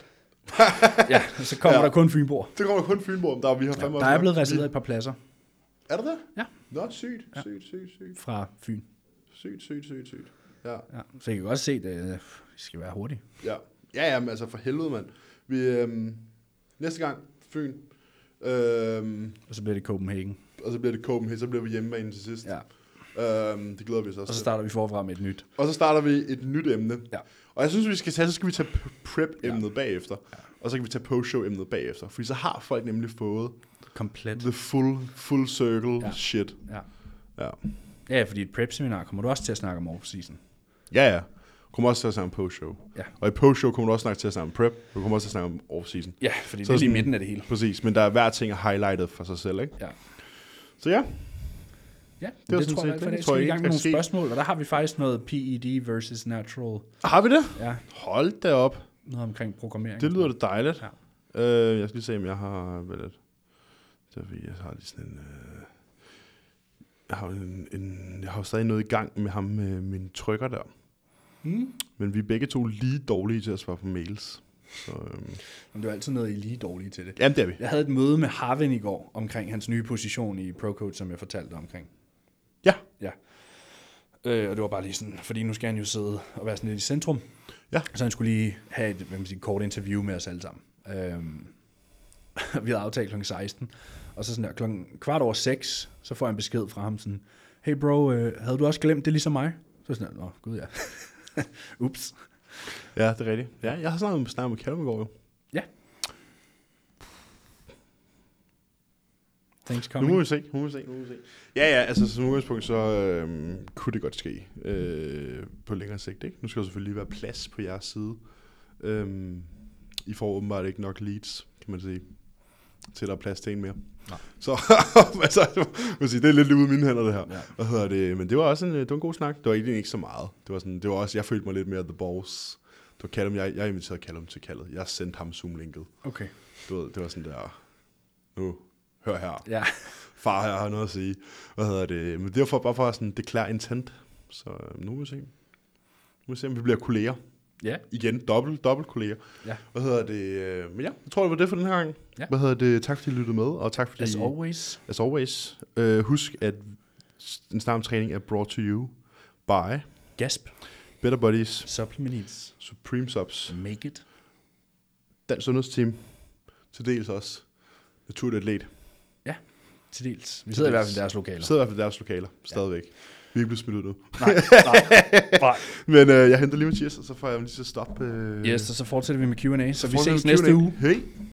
Speaker 2: ja, og så kommer ja.
Speaker 1: Ja.
Speaker 2: der kun Fynborg.
Speaker 1: Så kommer der kun Fynborg, der vi har fandme...
Speaker 2: Der
Speaker 1: også
Speaker 2: er blevet
Speaker 1: nok-
Speaker 2: reserveret et par pladser
Speaker 1: Er der det?
Speaker 2: Ja.
Speaker 1: Nå, sygt, sygt, sygt, sygt,
Speaker 2: fra Fyn.
Speaker 1: sygt, sygt, sygt, sygt. Ja.
Speaker 2: Ja, så I kan godt se, at vi skal være hurtige.
Speaker 1: Ja, ja, ja men altså for helvede, mand. Vi, øhm, næste gang, Fyn. Øhm,
Speaker 2: Og så bliver det Copenhagen.
Speaker 1: og så bliver det Copenhagen, så bliver vi hjemmebane til sidst.
Speaker 2: Ja.
Speaker 1: Øhm, det glæder vi os
Speaker 2: Og så
Speaker 1: også til.
Speaker 2: starter vi forfra med et nyt.
Speaker 1: Og så starter vi et nyt emne.
Speaker 2: Ja.
Speaker 1: Og jeg synes, vi skal tage, så skal vi tage p- prep-emnet ja. bagefter. Ja. Og så kan vi tage post-show-emnet bagefter. Fordi så har folk nemlig fået
Speaker 2: Komplet.
Speaker 1: the full, full circle
Speaker 2: Ja.
Speaker 1: ja. shit.
Speaker 2: Ja.
Speaker 1: Ja,
Speaker 2: ja, fordi et prep-seminar kommer du også til at snakke om off-season.
Speaker 1: ja. ja. Du kommer også til at snakke om post-show.
Speaker 2: Ja.
Speaker 1: Og i post-show kommer du også snakke til at snakke om prep. Du kommer også til at snakke om off-season.
Speaker 2: Ja, fordi
Speaker 1: Så
Speaker 2: det er lige
Speaker 1: sådan-
Speaker 2: midten af det hele.
Speaker 1: Præcis, men der er hver ting er highlightet for sig selv, ikke?
Speaker 2: Ja.
Speaker 1: Så ja,
Speaker 2: Ja, det,
Speaker 1: var
Speaker 2: det
Speaker 1: sådan
Speaker 2: tror jeg
Speaker 1: set
Speaker 2: alt for
Speaker 1: det.
Speaker 2: i dag.
Speaker 1: Tror
Speaker 2: Skal vi
Speaker 1: jeg
Speaker 2: i gang
Speaker 1: ikke,
Speaker 2: med nogle
Speaker 1: der er sket-
Speaker 2: spørgsmål, og der har vi faktisk noget PED versus natural.
Speaker 1: har vi det?
Speaker 2: Ja,
Speaker 1: Hold da op.
Speaker 2: noget omkring programmering.
Speaker 1: Det lyder da dejligt.
Speaker 2: Ja.
Speaker 1: Øh, jeg skal lige se, om jeg har... Hvad er det? Det er, fordi jeg har lige sådan en... Øh, jeg, har jo en, en, jeg har jo stadig noget i gang med ham med min trykker der.
Speaker 2: Hmm?
Speaker 1: Men vi er begge to lige dårlige til at svare på mails. Så, øhm,
Speaker 2: Men det er altid noget, I er lige dårlige til det.
Speaker 1: jamen, det er vi.
Speaker 2: Jeg havde et møde med Harvin i går omkring hans nye position i ProCode, som jeg fortalte omkring.
Speaker 1: Ja,
Speaker 2: Ja. Øh, og det var bare lige sådan, fordi nu skal han jo sidde og være sådan lidt i centrum.
Speaker 1: Ja.
Speaker 2: Så han skulle lige have et hvad man siger, kort interview med os alle sammen. Øhm, [laughs] vi havde aftalt kl. 16, og så sådan der, klokken kvart over 6, så får jeg en besked fra ham sådan, hey bro, øh, havde du også glemt det ligesom mig? Så sådan der, nå, gud ja. [laughs] Ups.
Speaker 1: Ja, det er rigtigt. Ja, jeg har snakket med, snakket med Kalmegård jo.
Speaker 2: Ja. Thanks
Speaker 1: Nu må
Speaker 2: coming.
Speaker 1: vi se, nu må vi se, nu må vi se. Ja, ja, altså som udgangspunkt, så øh, kunne det godt ske øh, på længere sigt, ikke? Nu skal der selvfølgelig lige være plads på jeres side. Øh, I får åbenbart ikke nok leads, kan man sige, til at der er plads til en mere.
Speaker 2: Nej.
Speaker 1: Så [laughs] altså, jeg må sige, det er lidt lige ude af mine hænder, det her.
Speaker 2: Ja.
Speaker 1: Hvad hedder det? Men det var også en, øh, det var en god snak. Det var egentlig ikke så meget. Det var, sådan, det var også, jeg følte mig lidt mere the boss. Det var Callum, jeg, jeg inviterede Callum til kaldet. Jeg sendte ham Zoom-linket.
Speaker 2: Okay.
Speaker 1: Du ved, det var sådan der, nu, hør her
Speaker 2: Ja.
Speaker 1: far her har noget at sige. Hvad hedder det? Men det er for, bare for at sådan declare intent. Så øh, nu må vi se. Nu må vi se, om vi bliver kolleger.
Speaker 2: Ja.
Speaker 1: Igen, dobbelt, dobbelt kolleger.
Speaker 2: Ja.
Speaker 1: Hvad hedder det? øh, Men ja, jeg tror, det var det for den her gang.
Speaker 2: Ja.
Speaker 1: Hvad hedder det? Tak fordi I lyttede med, og tak fordi...
Speaker 2: As always.
Speaker 1: As always. Øh, husk, at en snarmtræning er brought to you by
Speaker 2: Gasp.
Speaker 1: Better Buddies,
Speaker 2: Supplement needs.
Speaker 1: Supreme Subs,
Speaker 2: Make it.
Speaker 1: Dansk Sundhedsteam, til dels også Naturligt Atlet.
Speaker 2: Til dels. Vi
Speaker 1: Til
Speaker 2: sidder i
Speaker 1: dels.
Speaker 2: hvert fald i deres lokaler.
Speaker 1: Sidder i hvert fald i deres lokaler, stadigvæk. Vi er ikke blevet smidt ud nu.
Speaker 2: Nej, nej, nej.
Speaker 1: Men øh, jeg henter lige Mathias, og så får jeg lige til at stoppe. Øh,
Speaker 2: Yes, og så fortsætter vi med Q&A, så vi
Speaker 1: får
Speaker 2: ses
Speaker 1: en
Speaker 2: næste
Speaker 1: Q&A.
Speaker 2: uge.
Speaker 1: Hej.